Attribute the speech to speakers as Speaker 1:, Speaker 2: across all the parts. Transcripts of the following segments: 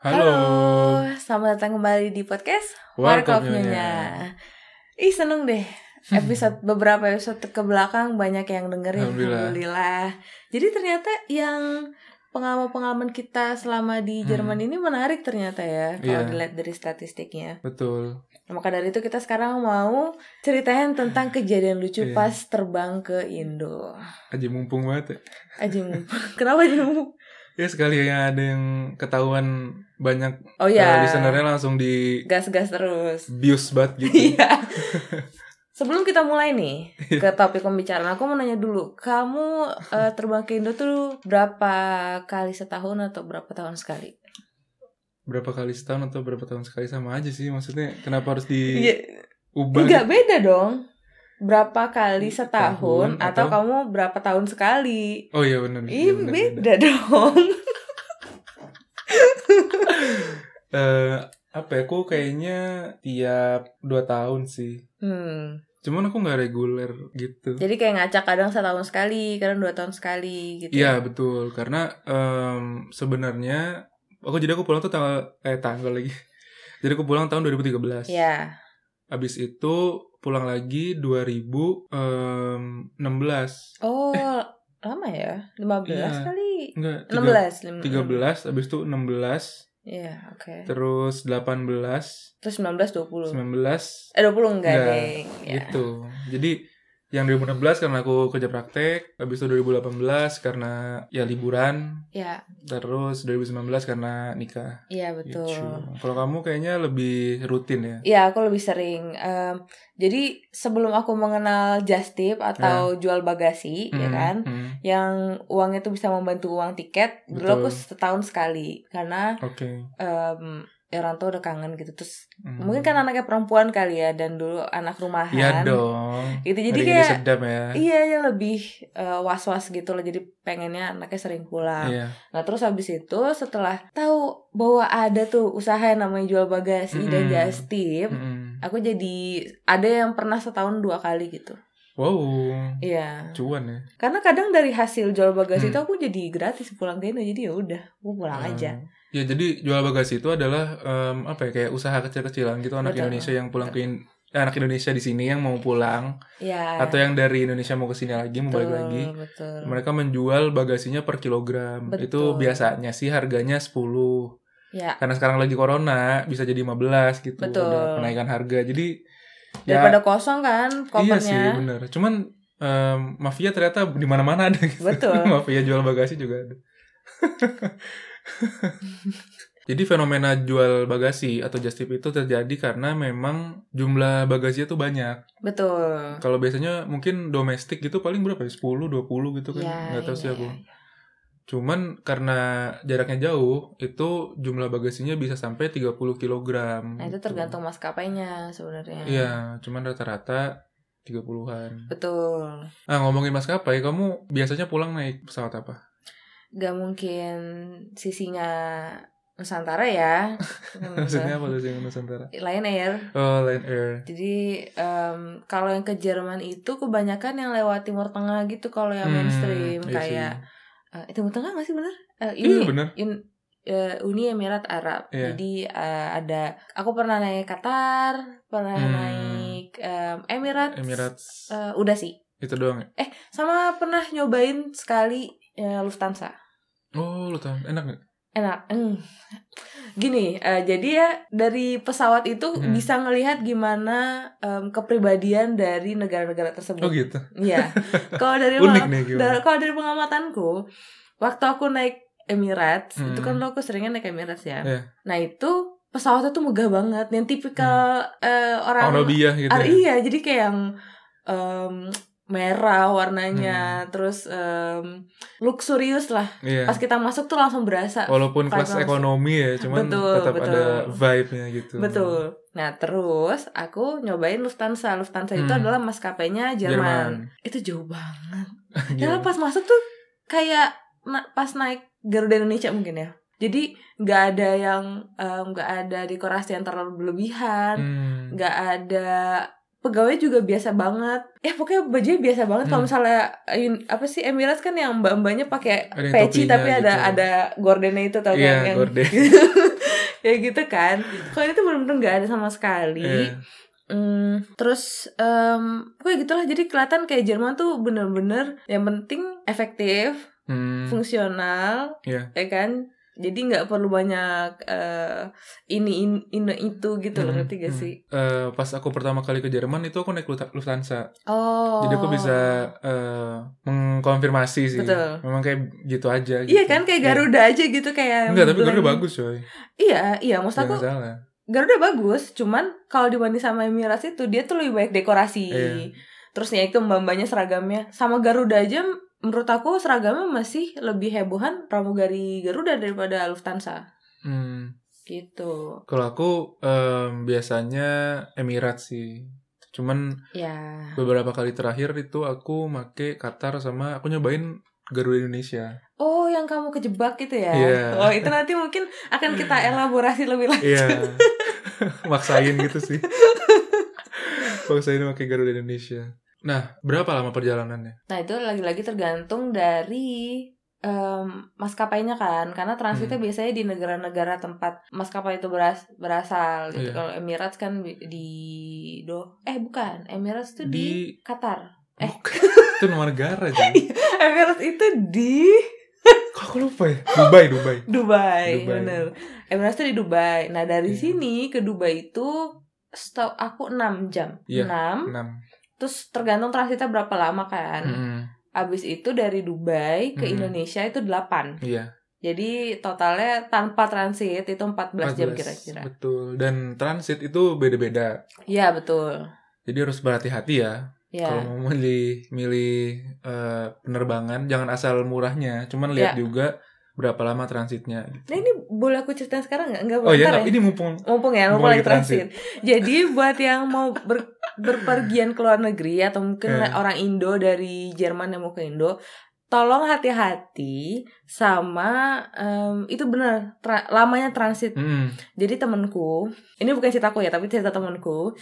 Speaker 1: Halo.
Speaker 2: selamat datang kembali di podcast
Speaker 1: Warkop Nyonya.
Speaker 2: Warkop
Speaker 1: Hmm.
Speaker 2: Nyonya. Ih seneng deh, episode beberapa episode ke belakang banyak yang dengerin.
Speaker 1: Alhamdulillah.
Speaker 2: Jadi ternyata yang pengalaman-pengalaman kita selama di
Speaker 1: Hmm.
Speaker 2: Jerman ini menarik ternyata ya kalau
Speaker 1: Iya.
Speaker 2: dilihat dari statistiknya.
Speaker 1: Betul.
Speaker 2: Nah, Maka dari itu kita sekarang mau ceritain tentang kejadian lucu
Speaker 1: Iya.
Speaker 2: pas terbang ke Indo.
Speaker 1: Aji mumpung banget. ya.
Speaker 2: Aji mumpung. kenapa aji mumpung?
Speaker 1: Ya sekali ya ada yang ketahuan banyak
Speaker 2: Oh
Speaker 1: eh,
Speaker 2: ya,
Speaker 1: listenernya langsung di
Speaker 2: gas-gas terus.
Speaker 1: bius banget gitu.
Speaker 2: Iya. Sebelum kita mulai nih ke topik pembicaraan, aku mau nanya dulu, kamu eh, terbang ke Indo tuh berapa kali setahun atau berapa tahun sekali?
Speaker 1: berapa kali setahun atau berapa tahun sekali sama aja sih maksudnya kenapa harus
Speaker 2: Iya,
Speaker 1: diubah?
Speaker 2: enggak beda dong. Berapa kali
Speaker 1: Tahun
Speaker 2: setahun atau,
Speaker 1: atau-
Speaker 2: kamu berapa tahun sekali?
Speaker 1: Oh iya benar.
Speaker 2: Ih,
Speaker 1: benar, benar.
Speaker 2: beda dong.
Speaker 1: Eh, apa ya? Aku kayaknya tiap dua tahun sih.
Speaker 2: Hmm.
Speaker 1: Cuman aku nggak reguler gitu.
Speaker 2: Jadi kayak ngacak kadang setahun sekali, kadang dua tahun sekali gitu.
Speaker 1: Iya betul karena em, sebenarnya aku jadi aku pulang tuh tanggal eh tanggal lagi. Jadi aku pulang tahun 2013.
Speaker 2: Iya.
Speaker 1: Habis itu pulang lagi 2016.
Speaker 2: Oh, lama ya? 15
Speaker 1: Iya.
Speaker 2: kali.
Speaker 1: Enggak,
Speaker 2: 16,
Speaker 1: 13 habis itu 16,
Speaker 2: Iya, oke.
Speaker 1: terus 18, 19,
Speaker 2: Terus 19 20. Eh 20 enggak,
Speaker 1: Enggak,
Speaker 2: deng. Ya.
Speaker 1: gitu. Jadi yang 2016 karena aku kerja praktek, habis itu 2018 karena ya liburan,
Speaker 2: Ya,
Speaker 1: terus 2019 karena nikah.
Speaker 2: iya
Speaker 1: Gitu.
Speaker 2: betul.
Speaker 1: Kalau kamu kayaknya lebih rutin ya.
Speaker 2: Iya, aku lebih sering. Em, jadi sebelum aku mengenal just tip
Speaker 1: Ah.
Speaker 2: atau jual bagasi, ya
Speaker 1: Mm,
Speaker 2: kan,
Speaker 1: mm.
Speaker 2: yang uangnya tuh bisa membantu uang tiket, dulu aku setahun sekali karena
Speaker 1: Oke.
Speaker 2: em, ya orang tua udah kangen gitu. Terus
Speaker 1: Mm.
Speaker 2: mungkin kan anaknya perempuan kali ya dan dulu anak rumahan.
Speaker 1: Iya dong.
Speaker 2: Gitu jadi
Speaker 1: Hari-hari
Speaker 2: kayak
Speaker 1: sedap ya.
Speaker 2: iya ya lebih eh, was-was gitu loh. Jadi pengennya anaknya sering pulang.
Speaker 1: Iya.
Speaker 2: Nah terus habis itu setelah tahu bahwa ada tuh usaha yang namanya jual bagasi dan
Speaker 1: Mm-mm.
Speaker 2: just tip,
Speaker 1: Mm-mm.
Speaker 2: aku jadi ada yang pernah setahun dua kali gitu.
Speaker 1: Wow.
Speaker 2: Iya.
Speaker 1: Cuan ya.
Speaker 2: Karena kadang dari hasil jual bagasi
Speaker 1: Hmm.
Speaker 2: itu aku jadi gratis pulang ke Indo jadi ya udah, aku pulang
Speaker 1: Eh,
Speaker 2: aja.
Speaker 1: Ya jadi jual bagasi itu adalah em, apa ya kayak usaha kecil-kecilan gitu anak
Speaker 2: Betul.
Speaker 1: Indonesia yang pulang ke In- eh, anak Indonesia di sini yang mau pulang
Speaker 2: Iya.
Speaker 1: atau yang dari Indonesia mau ke sini lagi mau
Speaker 2: betul,
Speaker 1: balik lagi.
Speaker 2: betul.
Speaker 1: Mereka menjual bagasinya per kilogram. Itu
Speaker 2: Betul.
Speaker 1: biasanya sih harganya 10.
Speaker 2: Ya,
Speaker 1: karena sekarang lagi corona bisa jadi 15 gitu
Speaker 2: Betul.
Speaker 1: ada penaikan harga jadi ya,
Speaker 2: daripada kosong kan
Speaker 1: iya sih
Speaker 2: kopernya.
Speaker 1: bener cuman em, mafia ternyata di mana mana ada gitu
Speaker 2: Betul.
Speaker 1: mafia jual bagasi juga ada jadi fenomena jual bagasi atau just tip itu terjadi karena memang jumlah bagasinya tuh banyak
Speaker 2: betul.
Speaker 1: kalau biasanya mungkin domestik gitu paling berapa ya 10 20 gitu kan
Speaker 2: Ya,
Speaker 1: nggak tahu
Speaker 2: iya,
Speaker 1: sih aku
Speaker 2: iya, iya.
Speaker 1: Cuman karena jaraknya jauh, itu jumlah bagasinya bisa sampai 30 kg.
Speaker 2: Nah, itu
Speaker 1: gitu.
Speaker 2: tergantung maskapainya sebenarnya.
Speaker 1: Iya, cuman rata-rata 30-an.
Speaker 2: Betul.
Speaker 1: Nah, ngomongin maskapai, kamu biasanya pulang naik pesawat apa?
Speaker 2: Gak mungkin sisinya Nusantara ya.
Speaker 1: Maksudnya apa tuh sih yang Nusantara?
Speaker 2: Lion Air.
Speaker 1: Oh, Lion Air.
Speaker 2: Jadi em, kalau yang ke Jerman itu kebanyakan yang lewat Timur Tengah gitu kalau yang
Speaker 1: Hmm,
Speaker 2: mainstream
Speaker 1: iya sih.
Speaker 2: kayak eh, Timur Tengah nggak sih bener? Eh,
Speaker 1: Iya,
Speaker 2: Uni,
Speaker 1: bener.
Speaker 2: Un- eh, Uni Emirat Arab.
Speaker 1: Iya.
Speaker 2: Jadi eh, ada aku pernah naik Qatar, pernah
Speaker 1: Hmm.
Speaker 2: naik em, Emirates.
Speaker 1: Emirates.
Speaker 2: Eh, udah sih.
Speaker 1: Itu doang ya?
Speaker 2: Sama pernah nyobain sekali eh, Lufthansa.
Speaker 1: Oh, lu tau. Enak gak?
Speaker 2: enak mm. gini eh, jadi ya dari pesawat itu
Speaker 1: Hmm.
Speaker 2: bisa ngelihat gimana em, kepribadian dari negara-negara tersebut
Speaker 1: Oh gitu?
Speaker 2: Iya. kalau dari
Speaker 1: Unik gitu.
Speaker 2: pengam-
Speaker 1: nih
Speaker 2: da-
Speaker 1: gimana?
Speaker 2: kalau dari pengamatanku waktu aku naik Emirates
Speaker 1: Hmm.
Speaker 2: itu kan lo aku seringnya naik Emirates ya
Speaker 1: Iya.
Speaker 2: nah itu pesawatnya tuh megah banget yang tipikal eh, orang
Speaker 1: Arabiah Hmm. gitu
Speaker 2: Ah,
Speaker 1: ya?
Speaker 2: iya jadi kayak yang em, merah warnanya terus em, luxurious lah
Speaker 1: Hmm. Iya.
Speaker 2: pas kita masuk tuh langsung berasa
Speaker 1: Walaupun
Speaker 2: Pas
Speaker 1: kelas
Speaker 2: langsung.
Speaker 1: ekonomi ya, cuman
Speaker 2: Betul,
Speaker 1: tetap ada
Speaker 2: betul.
Speaker 1: vibe-nya gitu.
Speaker 2: Betul. Nah, terus aku nyobain Lufthansa. Lufthansa itu
Speaker 1: Hmm.
Speaker 2: adalah maskapainya Jerman.
Speaker 1: Jerman. Iya.
Speaker 2: Itu jauh banget.
Speaker 1: Gila.
Speaker 2: Karena pas masuk tuh kayak na- pas naik Garuda Indonesia mungkin ya. Jadi nggak ada eh, yang em, nggak ada dekorasi yang terlalu berlebihan,
Speaker 1: Hmm.
Speaker 2: nggak ada pegawai juga biasa banget ya pokoknya bajunya biasa banget
Speaker 1: Hmm.
Speaker 2: kalau misalnya eh, un- apa sih Emirates kan yang mbak mbaknya pakai
Speaker 1: Ada yang
Speaker 2: peci
Speaker 1: topinya
Speaker 2: tapi ada
Speaker 1: gitu.
Speaker 2: ada gordennya itu tau
Speaker 1: Iya,
Speaker 2: kan yang
Speaker 1: gorden.
Speaker 2: ya gitu kan kalau ini tuh benar-benar nggak ada sama sekali
Speaker 1: Iya.
Speaker 2: Hmm, terus em pokoknya gitulah jadi kelihatan kayak Jerman tuh bener-bener yang penting efektif
Speaker 1: Hmm,
Speaker 2: fungsional
Speaker 1: Iya.
Speaker 2: ya kan jadi nggak perlu banyak eh, ini ini, ini itu gitu loh
Speaker 1: Hmm,
Speaker 2: ngerti gak
Speaker 1: hmm.
Speaker 2: sih
Speaker 1: eh, pas aku pertama kali ke Jerman itu aku naik Luta- Lufthansa.
Speaker 2: oh
Speaker 1: Jadi aku bisa eh, mengkonfirmasi sih.
Speaker 2: Betul.
Speaker 1: Memang kayak gitu aja.
Speaker 2: iya
Speaker 1: gitu.
Speaker 2: kan kayak
Speaker 1: Iya.
Speaker 2: Garuda aja gitu kayak
Speaker 1: Enggak, tapi
Speaker 2: blend.
Speaker 1: Garuda bagus kan, coy.
Speaker 2: iya iya maksud
Speaker 1: Gak
Speaker 2: aku
Speaker 1: masalah.
Speaker 2: Garuda bagus cuman kalau dibanding sama Emirates itu dia tuh lebih baik dekorasi
Speaker 1: Iya.
Speaker 2: terus ya itu mbak-mbaknya seragamnya sama Garuda aja menurut aku seragamnya masih lebih hebohan pramugari Garuda daripada Lufthansa
Speaker 1: Hmm.
Speaker 2: gitu
Speaker 1: Kalau aku em, biasanya Emirates sih. Cuman
Speaker 2: ya
Speaker 1: beberapa kali terakhir itu aku make Qatar sama aku nyobain Garuda Indonesia.
Speaker 2: Oh, yang kamu kejebak gitu ya?
Speaker 1: Iya.
Speaker 2: Oh, itu nanti mungkin akan kita elaborasi lebih lanjut.
Speaker 1: Iya. Maksain gitu sih. Maksain pakai Garuda Indonesia. Nah, berapa lama perjalanannya?
Speaker 2: Nah, itu lagi-lagi tergantung dari em, maskapainya kan, karena transitnya biasanya di negara-negara tempat maskapai itu beras- berasal. Gitu.
Speaker 1: Iya.
Speaker 2: Kalau Emirates kan bi- di do, eh bukan, Emirates itu di,
Speaker 1: Di-
Speaker 2: Qatar. Eh.
Speaker 1: Bukan. itu nama negara aja.
Speaker 2: Emirates itu di
Speaker 1: Kok aku lupa ya? Dubai, Dubai.
Speaker 2: Dubai,
Speaker 1: Dubai.
Speaker 2: bener. Emirates itu di Dubai. Nah, dari
Speaker 1: Iya.
Speaker 2: sini ke Dubai itu stop aku 6 jam.
Speaker 1: Iya.
Speaker 2: 6
Speaker 1: 6.
Speaker 2: terus tergantung transitnya berapa lama kan. Abis itu dari Dubai ke
Speaker 1: Mm.
Speaker 2: Indonesia itu 8.
Speaker 1: Iya.
Speaker 2: Jadi totalnya tanpa transit itu 14, jam
Speaker 1: 14.
Speaker 2: kira-kira.
Speaker 1: Betul. Dan transit itu beda-beda.
Speaker 2: Iya, betul.
Speaker 1: Jadi harus berhati-hati ya. Kalau
Speaker 2: Ya.
Speaker 1: mau milih milih eh, penerbangan jangan asal murahnya, cuman lihat
Speaker 2: Ya.
Speaker 1: juga berapa lama transitnya.
Speaker 2: Nah, ini boleh aku ceritain sekarang nggak? Nggak
Speaker 1: oh ya,
Speaker 2: bentar
Speaker 1: ini mumpung
Speaker 2: Mumpung ya, mumpung
Speaker 1: Mumpung
Speaker 2: lagi
Speaker 1: lagi transit.
Speaker 2: transit. Jadi buat yang mau ber- berpergian ke luar negeri atau mungkin
Speaker 1: Eh.
Speaker 2: orang Indo dari Jerman yang mau ke Indo, tolong hati-hati sama em, itu benar tra- lamanya transit
Speaker 1: Mm-mm.
Speaker 2: Jadi temenku, ini bukan ceritaku ya, tapi cerita temenku,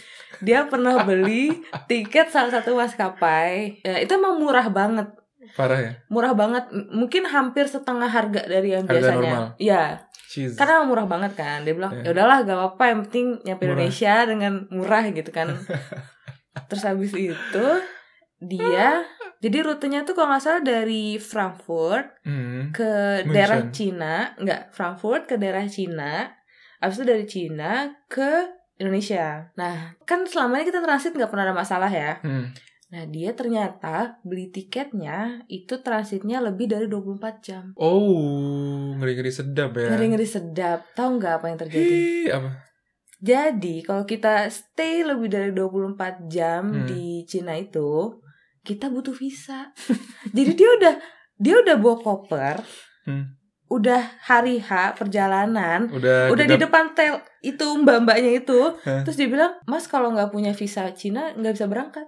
Speaker 2: dia pernah beli tiket salah satu maskapai. Ya, itu emang murah banget,
Speaker 1: parah ya.
Speaker 2: murah banget. M- Mungkin hampir setengah harga dari yang
Speaker 1: Harga normal.
Speaker 2: biasanya. Iya,
Speaker 1: Jeez.
Speaker 2: karena emang murah banget kan. Dia bilang, ya
Speaker 1: Iya.
Speaker 2: udahlah, gak apa-apa. Yang penting nyampe
Speaker 1: Murah.
Speaker 2: Indonesia dengan murah gitu kan. Terus habis itu dia, jadi rutenya tuh kalau nggak salah dari Frankfurt
Speaker 1: Mm.
Speaker 2: ke
Speaker 1: München.
Speaker 2: daerah Cina, enggak Frankfurt ke daerah Cina, habis itu dari Cina ke Indonesia. Nah, kan selama ini kita transit nggak pernah ada masalah ya.
Speaker 1: Mm.
Speaker 2: Nah, dia ternyata beli tiketnya itu transitnya lebih dari 24 jam.
Speaker 1: Oh, ngeri-ngeri sedap ya.
Speaker 2: Ngeri-ngeri sedap. Tahu nggak apa yang terjadi?
Speaker 1: Hih, apa?
Speaker 2: Jadi, kalau kita stay lebih dari 24 jam
Speaker 1: Hmm.
Speaker 2: di Cina itu, kita butuh visa. Jadi dia udah dia udah bawa koper.
Speaker 1: Hmm.
Speaker 2: Udah hari H perjalanan,
Speaker 1: Udah
Speaker 2: udah di
Speaker 1: gedap.
Speaker 2: depan tel itu mbak-mbaknya itu
Speaker 1: Hah?
Speaker 2: terus dia bilang mas kalau nggak punya visa Cina nggak bisa berangkat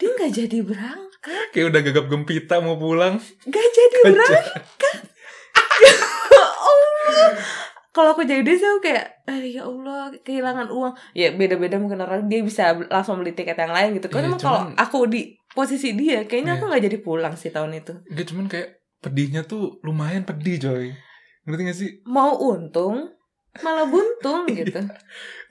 Speaker 2: dia nggak jadi berangkat
Speaker 1: kayak udah gagap gempita mau pulang.
Speaker 2: nggak jadi
Speaker 1: Aja.
Speaker 2: berangkat Ya Allah kalau aku jadi dia sih aku kayak "Ah, ya Allah kehilangan uang ya beda-beda mungkin orang dia bisa bel- langsung beli tiket yang lain gitu kan
Speaker 1: Iya,
Speaker 2: emang kalau
Speaker 1: cuman-
Speaker 2: aku di posisi dia
Speaker 1: Iya.
Speaker 2: kayaknya aku nggak jadi pulang sih tahun itu
Speaker 1: Gak cuman kayak pedihnya tuh lumayan pedih, coy. Ngerti gak sih?
Speaker 2: mau untung malah buntung
Speaker 1: Iya.
Speaker 2: gitu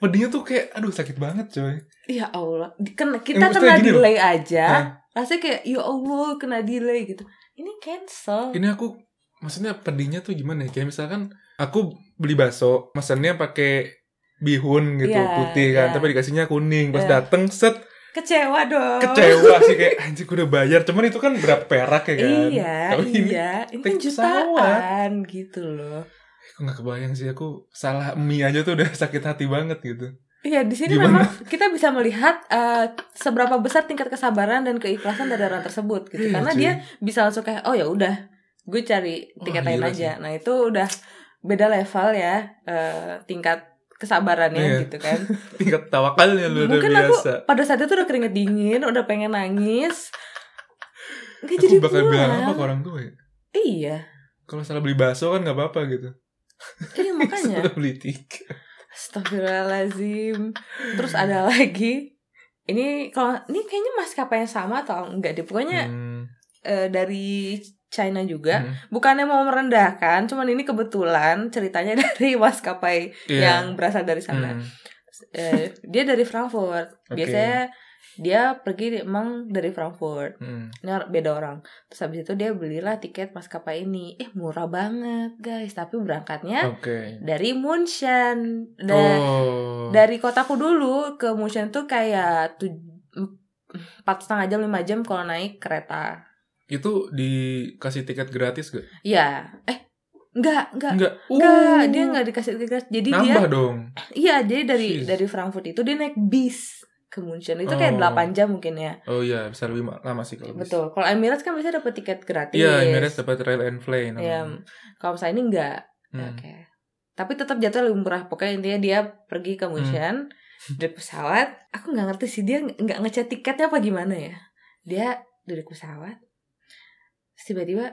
Speaker 1: Pedihnya tuh kayak aduh sakit banget, coy.
Speaker 2: ya Allah Di- kena-
Speaker 1: Eh,
Speaker 2: kita
Speaker 1: maksudnya
Speaker 2: kena
Speaker 1: gini loh.
Speaker 2: delay aja
Speaker 1: Hah?
Speaker 2: rasanya kayak ya Allah kena delay gitu ini cancel
Speaker 1: ini aku maksudnya pedihnya tuh gimana ya kayak misalkan aku beli bakso mesennya pakai bihun gitu
Speaker 2: Iya,
Speaker 1: putih kan
Speaker 2: iya.
Speaker 1: tapi dikasihnya kuning pas
Speaker 2: Iya.
Speaker 1: dateng set
Speaker 2: kecewa dong
Speaker 1: kecewa sih kayak anjir gue udah bayar cuman itu kan berapa perak ya kan
Speaker 2: iya
Speaker 1: tapi ini
Speaker 2: iya ini kan
Speaker 1: naik
Speaker 2: jutaan gitu loh
Speaker 1: aku nggak kebayang sih aku salah mie aja tuh udah sakit hati banget gitu
Speaker 2: Iya di sini
Speaker 1: Gimana?
Speaker 2: memang kita bisa melihat eh, seberapa besar tingkat kesabaran dan keikhlasan dari orang tersebut gitu
Speaker 1: Iya,
Speaker 2: karena
Speaker 1: cuy.
Speaker 2: dia bisa langsung kayak oh ya udah gue cari tiket
Speaker 1: Wah,
Speaker 2: lain
Speaker 1: gila
Speaker 2: aja nah itu udah beda level ya eh, tingkat kesabarannya
Speaker 1: Iya.
Speaker 2: gitu kan
Speaker 1: tingkat tawakalnya Iya, lu udah
Speaker 2: Mungkin
Speaker 1: biasa
Speaker 2: aku pada saat itu udah keringet dingin, udah pengen nangis. Nggak
Speaker 1: aku
Speaker 2: jadi
Speaker 1: bakal
Speaker 2: pulang.
Speaker 1: bilang apa ke orang tua ya
Speaker 2: Iya,
Speaker 1: kalau salah beli bakso kan nggak apa-apa gitu
Speaker 2: iya makanya.
Speaker 1: salah beli tiket Hmm.
Speaker 2: Astagfirullahalazim. Terus ada lagi ini kalau ini kayaknya maskapai yang sama atau enggak deh pokoknya
Speaker 1: Hmm,
Speaker 2: eh, dari China juga
Speaker 1: hmm.
Speaker 2: bukannya mau merendahkan cuman ini kebelan ceritanya dari maskapai
Speaker 1: Iya.
Speaker 2: yang berasal dari sana
Speaker 1: Hmm.
Speaker 2: Eh, dia dari Frankfurt
Speaker 1: Oke.
Speaker 2: biasanya dia pergi emang dari Frankfurt
Speaker 1: Hmm.
Speaker 2: ini or- beda orang terus habis itu dia belilah tiket maskapai ini eh murah banget guys tapi berangkatnya
Speaker 1: Oke.
Speaker 2: dari Munchen Da-
Speaker 1: Oh.
Speaker 2: dari kotaku dulu ke Munchen tuh kayak tuj- em- empat setengah jam lima jam kalau naik kereta
Speaker 1: Itu dikasih tiket gratis gak?
Speaker 2: ya eh enggak enggak
Speaker 1: Enggak.
Speaker 2: enggak
Speaker 1: Uh,
Speaker 2: dia enggak dikasih tiket jadi dia
Speaker 1: Nambah dong.
Speaker 2: iya jadi
Speaker 1: Jeez.
Speaker 2: dari dari Frankfurt itu dia naik bis ke Munchen itu kayak
Speaker 1: Oh.
Speaker 2: delapan jam mungkin ya
Speaker 1: Oh iya, bisa lebih ma- lama sih kalau bisa.
Speaker 2: betul kalau Emirates kan bisa dapat tiket gratis
Speaker 1: Iya, Emirates dapat rail and fly namanya.
Speaker 2: Iya, kalau misalnya ini enggak
Speaker 1: Hmm.
Speaker 2: Oke. Tapi tetap jatuh lebih murah. Pokoknya intinya dia pergi ke Mushan dari pesawat. Aku nggak ngerti sih dia nggak- nggak ngecat tiketnya apa gimana ya. Dia duduk pesawat. Terus Tiba-tiba,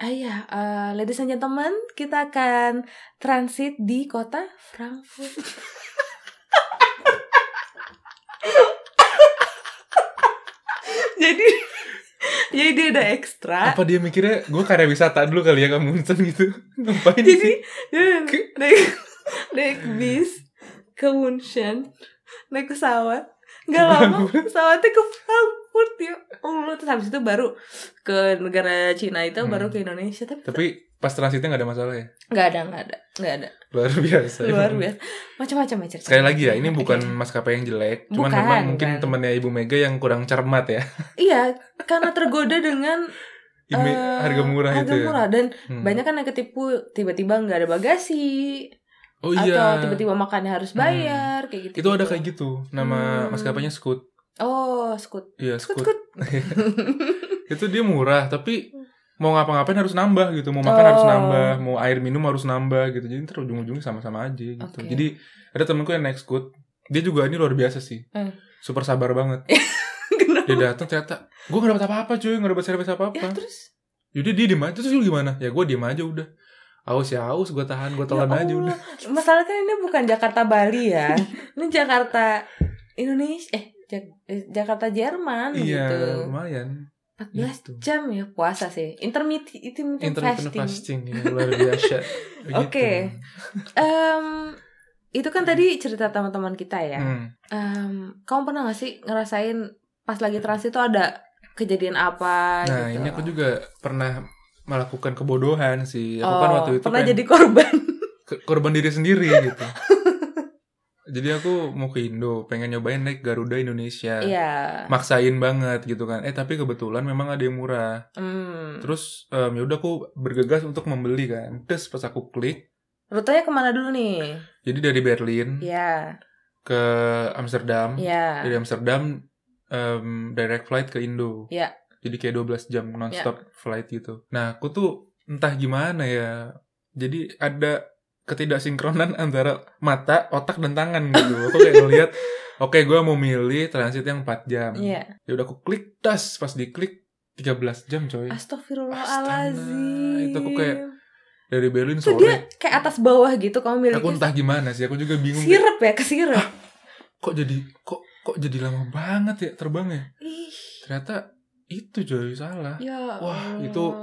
Speaker 2: ah ya, eh, ladies and gentlemen, kita akan transit di kota Frankfurt. jadi, jadi dia udah ekstra.
Speaker 1: Apa dia mikirnya gue karya wisata dulu kali ya ke Munchen gitu? Ngapain
Speaker 2: jadi
Speaker 1: sih?
Speaker 2: dia naik naik bis ke Munchen naik pesawat nggak lama pesawatnya ke Frankfurt ya Allah terus habis itu baru ke negara Cina itu
Speaker 1: Hmm.
Speaker 2: baru ke Indonesia tapi
Speaker 1: Tapi pas transitnya nggak ada masalah ya?
Speaker 2: nggak ada nggak ada nggak ada
Speaker 1: Luar biasa.
Speaker 2: luar
Speaker 1: emang.
Speaker 2: biasa macam-macam ya Iya. ceritanya.
Speaker 1: Sekali lagi ya, ini bukan
Speaker 2: Oke.
Speaker 1: maskapai yang jelek, cuman
Speaker 2: Bukan,
Speaker 1: memang mungkin
Speaker 2: bukan.
Speaker 1: temannya Ibu Mega yang kurang cermat ya.
Speaker 2: iya karena tergoda dengan
Speaker 1: Ime,
Speaker 2: eh,
Speaker 1: harga murah
Speaker 2: harga
Speaker 1: itu. ya.
Speaker 2: murah dan
Speaker 1: Hmm.
Speaker 2: banyak kan yang ketipu tiba-tiba nggak ada bagasi
Speaker 1: Oh
Speaker 2: atau
Speaker 1: iya.
Speaker 2: tiba-tiba makannya harus
Speaker 1: Hmm.
Speaker 2: bayar kayak gitu
Speaker 1: Itu ada kayak gitu. Nama
Speaker 2: Hmm.
Speaker 1: maskapainya Scoot.
Speaker 2: oh skut
Speaker 1: Iya,
Speaker 2: skut
Speaker 1: Scoot.
Speaker 2: skut
Speaker 1: itu dia murah tapi mau ngapa-ngapain harus nambah gitu mau makan harus
Speaker 2: Hmm. Oh.
Speaker 1: nambah mau air minum harus nambah gitu jadi ntar ujung-ujungnya sama-sama aja gitu
Speaker 2: Oke.
Speaker 1: jadi ada temenku yang naik scoot dia juga ini luar biasa sih
Speaker 2: Hmm. Eh,
Speaker 1: super sabar banget
Speaker 2: Kenapa?
Speaker 1: dia datang ternyata gue gak dapat apa-apa cuy gak dapat servis
Speaker 2: Ya
Speaker 1: apa-apa
Speaker 2: terus
Speaker 1: jadi dia diem aja terus lu gimana ya gue diem aja udah aus ya aus gue tahan gue telan
Speaker 2: Ya
Speaker 1: aja
Speaker 2: Allah.
Speaker 1: udah
Speaker 2: Masalahnya kan ini bukan Jakarta Bali ya. ini Jakarta Indonesia eh Jak- eh, Jakarta Jerman
Speaker 1: iya
Speaker 2: gitu.
Speaker 1: lumayan
Speaker 2: 14
Speaker 1: gitu.
Speaker 2: jam ya puasa sih. Intermittent, intermittent
Speaker 1: intermittent
Speaker 2: fasting.
Speaker 1: fasting, ya, luar biasa Gitu. Begitu.
Speaker 2: Oke. Em, itu kan tadi cerita teman-teman kita ya.
Speaker 1: Hmm.
Speaker 2: Em, kamu pernah gak sih ngerasain pas lagi transit tuh ada kejadian apa
Speaker 1: Nah
Speaker 2: gitu?
Speaker 1: ini aku juga pernah melakukan kebodohan sih. Aku kan
Speaker 2: Oh,
Speaker 1: waktu itu
Speaker 2: pernah
Speaker 1: kan
Speaker 2: jadi korban.
Speaker 1: ke- korban diri sendiri gitu. Jadi aku mau ke Indo, pengen nyobain naik Garuda Indonesia.
Speaker 2: Iya.
Speaker 1: Maksain banget gitu kan. Eh tapi kebetulan memang ada yang murah.
Speaker 2: Hmm.
Speaker 1: Terus em, yaudah aku bergegas untuk membeli kan. Terus pas aku klik,
Speaker 2: Rutenya kemana dulu nih?
Speaker 1: jadi dari Berlin
Speaker 2: Iya.
Speaker 1: ke Amsterdam.
Speaker 2: Iya.
Speaker 1: Dari Amsterdam em, direct flight ke Indo.
Speaker 2: Iya.
Speaker 1: Jadi kayak 12 jam nonstop
Speaker 2: Ya.
Speaker 1: flight gitu. Nah, aku tuh entah gimana ya. Jadi ada ketidaksinkronan antara mata, otak dan tangan gitu. Aku kayak ngeliat, oke gue mau milih transit yang 4 jam.
Speaker 2: Iya.
Speaker 1: Ya udah aku klik tas, pas diklik 13 jam coy.
Speaker 2: Astagfirullahalazim.
Speaker 1: Astaga, itu aku kayak Dari Berlin
Speaker 2: Itu dia
Speaker 1: sore.
Speaker 2: kayak atas bawah gitu kamu milih
Speaker 1: Aku entah gimana sih, aku juga bingung. kayak,
Speaker 2: Sirep ya, kesirep.
Speaker 1: Kok jadi kok kok jadi lama banget ya terbangnya?
Speaker 2: Ih,
Speaker 1: Ternyata itu coy salah.
Speaker 2: ya.
Speaker 1: Wah,
Speaker 2: Allah.
Speaker 1: itu-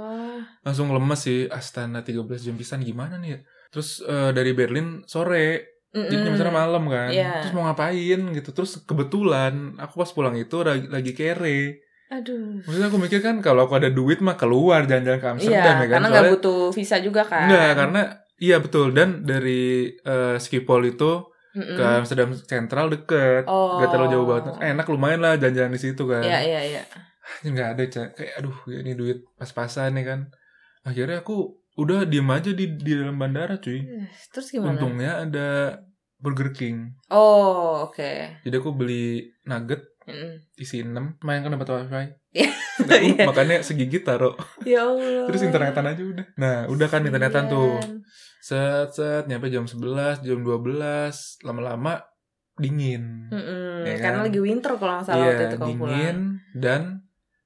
Speaker 1: langsung lemes sih Astana 13 jam pisan gimana nih ya terus eh, dari Berlin sore
Speaker 2: Mm-mm.
Speaker 1: jadi nyampe sana malam kan
Speaker 2: Hmm. Iya.
Speaker 1: terus mau ngapain gitu terus kebetulan aku pas pulang itu lagi, lagi kere
Speaker 2: Aduh.
Speaker 1: maksudnya aku mikir kan kalau aku ada duit mah keluar jalan-jalan ke
Speaker 2: Iya,
Speaker 1: Amsterdam ya kan
Speaker 2: karena nggak
Speaker 1: Soalnya-
Speaker 2: butuh visa juga kan.
Speaker 1: Nggak, karena iya betul dan dari eh, Schiphol itu
Speaker 2: Mm-mm.
Speaker 1: ke Amsterdam Central deket
Speaker 2: Hmm. Oh.
Speaker 1: Gak terlalu jauh banget Enak kan? lumayan lah jalan-jalan di situ kan
Speaker 2: Iya, iya, iya.
Speaker 1: Anjir, nggak ada Ca. kayak aduh ya ini duit pas-pasan ya kan akhirnya aku udah diem aja di di dalam bandara cuy
Speaker 2: Eh, Terus gimana?
Speaker 1: untungnya ada Burger King
Speaker 2: Oh, oke.
Speaker 1: jadi aku beli nugget
Speaker 2: Mm-mm.
Speaker 1: isi 6 main kan dapat wifi
Speaker 2: Iya.
Speaker 1: Udah, aku
Speaker 2: Iya.
Speaker 1: makannya segigit taro
Speaker 2: Ya Allah.
Speaker 1: terus internetan aja udah nah udah kan internetan tuh
Speaker 2: Iya.
Speaker 1: set set nyampe jam 11 jam 12 lama-lama dingin
Speaker 2: Mm-mm.
Speaker 1: Ya kan?
Speaker 2: Karena lagi winter kalau nggak salah Hmm, waktu
Speaker 1: iya
Speaker 2: itu kamu pulang.
Speaker 1: dingin dan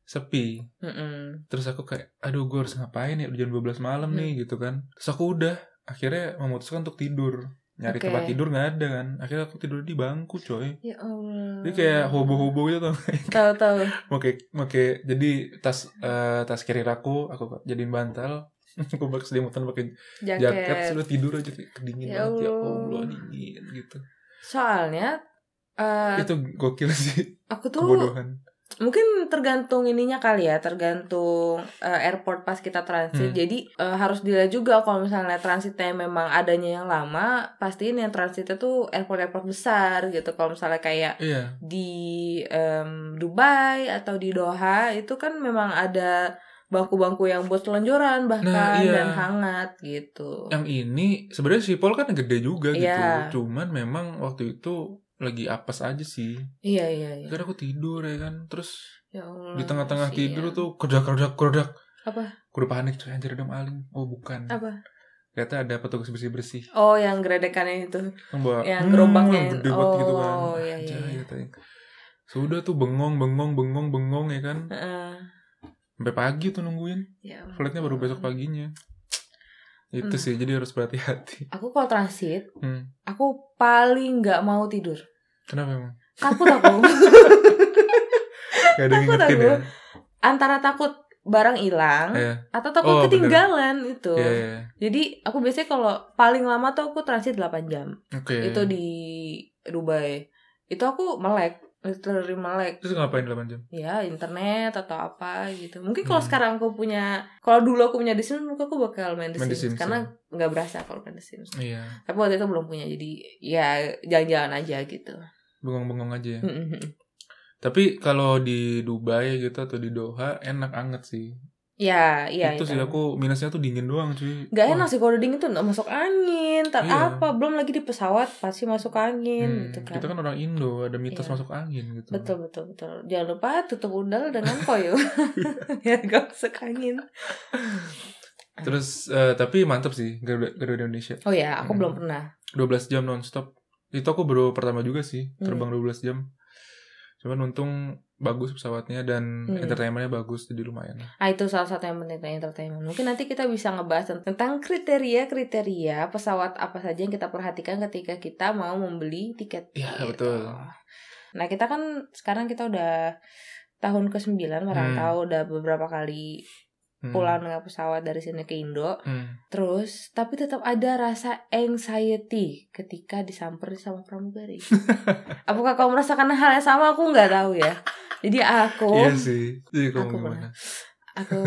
Speaker 1: sepi
Speaker 2: Mm-mm.
Speaker 1: terus aku kayak aduh
Speaker 2: Hmm.
Speaker 1: gue harus ngapain ya udah jam 12 malam nih gitu kan terus aku udah akhirnya memutuskan untuk tidur nyari
Speaker 2: Oke.
Speaker 1: tempat tidur nggak ada kan akhirnya aku tidur di bangku coy
Speaker 2: Ya Allah.
Speaker 1: jadi kayak hobo-hobo gitu tuh
Speaker 2: Tahu-tahu.
Speaker 1: oke oke jadi tas eh, tas kiri aku aku jadiin bantal aku pakai selimutan pakai
Speaker 2: Jaket.
Speaker 1: jaket sudah tidur aja kayak kedingin
Speaker 2: Ya
Speaker 1: banget ya
Speaker 2: Allah.
Speaker 1: Allah dingin gitu
Speaker 2: Soalnya eh,
Speaker 1: itu gokil sih
Speaker 2: aku tuh
Speaker 1: kebodohan
Speaker 2: mungkin tergantung ininya kali ya, tergantung eh, airport pas kita transit.
Speaker 1: Hmm.
Speaker 2: Jadi eh, harus dilihat juga kalau misalnya transitnya memang adanya yang lama, pastiin yang transitnya tuh airport-airport besar gitu. Kalau misalnya kayak
Speaker 1: iya
Speaker 2: di em, Dubai atau di Doha itu kan memang ada bangku-bangku yang buat selonjoran bahkan
Speaker 1: Nah, iya.
Speaker 2: dan hangat gitu.
Speaker 1: yang ini sebenarnya sipol kan gede juga
Speaker 2: Iya.
Speaker 1: gitu cuman memang waktu itu lagi apes aja sih
Speaker 2: Iya iya iya.
Speaker 1: karena aku tidur ya kan terus
Speaker 2: Ya Allah,
Speaker 1: di tengah-tengah
Speaker 2: kasihan.
Speaker 1: tidur tuh kerdak kerdak kerdak
Speaker 2: Apa?
Speaker 1: aku udah panik coy anjir ada maling oh bukan
Speaker 2: Apa?
Speaker 1: ternyata ada petugas bersih bersih
Speaker 2: Oh, yang gredekannya itu.
Speaker 1: yang bawa
Speaker 2: Yang
Speaker 1: "Hmm,"
Speaker 2: Ya, gerobaknya.
Speaker 1: gede banget gitu kan
Speaker 2: Oh, iya, iya,
Speaker 1: Anjay,
Speaker 2: iya.
Speaker 1: katanya. sudah tuh bengong bengong bengong bengong ya kan
Speaker 2: Heeh.
Speaker 1: sampai pagi tuh nungguin
Speaker 2: Ya Allah.
Speaker 1: flightnya baru besok paginya itu
Speaker 2: Hmm.
Speaker 1: sih jadi harus berhati-hati
Speaker 2: Aku kalau transit,
Speaker 1: Hmm.
Speaker 2: aku paling nggak mau tidur.
Speaker 1: kenapa emang
Speaker 2: Takut aku.
Speaker 1: gak ada yang
Speaker 2: Takut
Speaker 1: ngingetin
Speaker 2: aku.
Speaker 1: ya
Speaker 2: Antara takut barang hilang
Speaker 1: Iya.
Speaker 2: atau takut
Speaker 1: Oh, bener.
Speaker 2: ketinggalan itu.
Speaker 1: Iya, iya, iya.
Speaker 2: Jadi aku biasanya kalau paling lama tuh aku transit 8 jam.
Speaker 1: oke
Speaker 2: itu di Dubai itu aku melek literally melek
Speaker 1: terus ngapain 8 jam
Speaker 2: ya internet atau apa gitu mungkin kalau
Speaker 1: Hmm.
Speaker 2: sekarang aku punya kalau dulu aku punya The Sims mungkin aku bakal main The
Speaker 1: Main The Sims,
Speaker 2: Sims,
Speaker 1: ya.
Speaker 2: karena nggak berasa kalau main The Sims
Speaker 1: iya
Speaker 2: tapi waktu itu belum punya jadi ya jalan-jalan aja gitu
Speaker 1: bengong-bengong aja ya
Speaker 2: Mm-mm.
Speaker 1: tapi kalau di Dubai gitu atau di Doha enak anget sih
Speaker 2: ya ya
Speaker 1: itu sih aku minusnya tuh dingin doang cuy
Speaker 2: Gak
Speaker 1: Wah,
Speaker 2: enak sih kalau udah dingin tuh nggak masuk angin, tak
Speaker 1: Iya.
Speaker 2: apa belum lagi di pesawat pasti masuk angin
Speaker 1: hmm,
Speaker 2: gitu kan.
Speaker 1: kita kan orang Indo ada mitos
Speaker 2: Iya.
Speaker 1: masuk angin gitu
Speaker 2: Betul betul betul. Jangan lupa tutup udal dengan koyo biar gak masuk angin.
Speaker 1: terus eh, tapi mantep sih Garuda, Garuda Indonesia
Speaker 2: Oh ya, aku
Speaker 1: Hmm.
Speaker 2: belum pernah.
Speaker 1: 12 jam nonstop itu aku baru pertama juga sih
Speaker 2: Hmm.
Speaker 1: terbang 12 jam cuman untung bagus pesawatnya dan
Speaker 2: Hmm.
Speaker 1: entertainmentnya bagus jadi lumayan
Speaker 2: Ah itu salah satu yang penting tentang entertainment. Mungkin nanti kita bisa ngebahas tent- tentang kriteria-kriteria pesawat apa saja yang kita perhatikan ketika kita mau membeli tiket.
Speaker 1: Iya,
Speaker 2: gitu.
Speaker 1: betul.
Speaker 2: Nah, kita kan sekarang kita udah tahun ke-9 merantau udah beberapa kali
Speaker 1: Hmm.
Speaker 2: pulang dengan pesawat dari sini ke Indo.
Speaker 1: Hmm.
Speaker 2: Terus tapi tetap ada rasa anxiety ketika disamperin sama pramugari. Apakah kau merasakan hal yang sama? Aku nggak tahu ya. Jadi aku
Speaker 1: iya sih jadi kamu
Speaker 2: Oh. aku
Speaker 1: gimana
Speaker 2: aku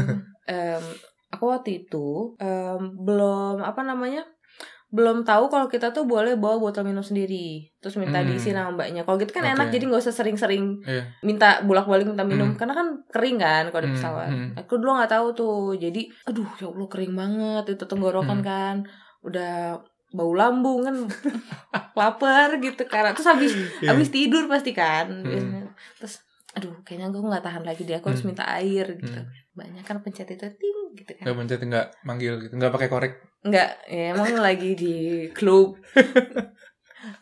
Speaker 2: em, aku waktu itu em, belum apa namanya belum tahu kalau kita tuh boleh bawa botol minum sendiri terus minta
Speaker 1: Hmm.
Speaker 2: diisi sama mbaknya kalau gitu kan
Speaker 1: Oke.
Speaker 2: enak jadi nggak usah sering-sering
Speaker 1: Iya.
Speaker 2: minta bolak-balik minta minum
Speaker 1: Hmm.
Speaker 2: karena kan kering kan kalau di
Speaker 1: Hmm,
Speaker 2: pesawat
Speaker 1: hmm.
Speaker 2: aku dulu nggak tahu tuh jadi aduh ya allah kering banget itu tenggorokan
Speaker 1: Hmm.
Speaker 2: kan udah bau lambung kan lapar gitu karena terus habis
Speaker 1: Iya.
Speaker 2: Abis tidur pasti kan
Speaker 1: Mm.
Speaker 2: biasanya. Terus aduh kayaknya gue nggak tahan lagi dia aku harus
Speaker 1: Mm.
Speaker 2: minta air gitu.
Speaker 1: Hmm.
Speaker 2: Banyak kan pencet itu ting gitu kan.
Speaker 1: nggak mencet nggak manggil gitu nggak pakai korek
Speaker 2: Enggak, ya emang lagi di klub.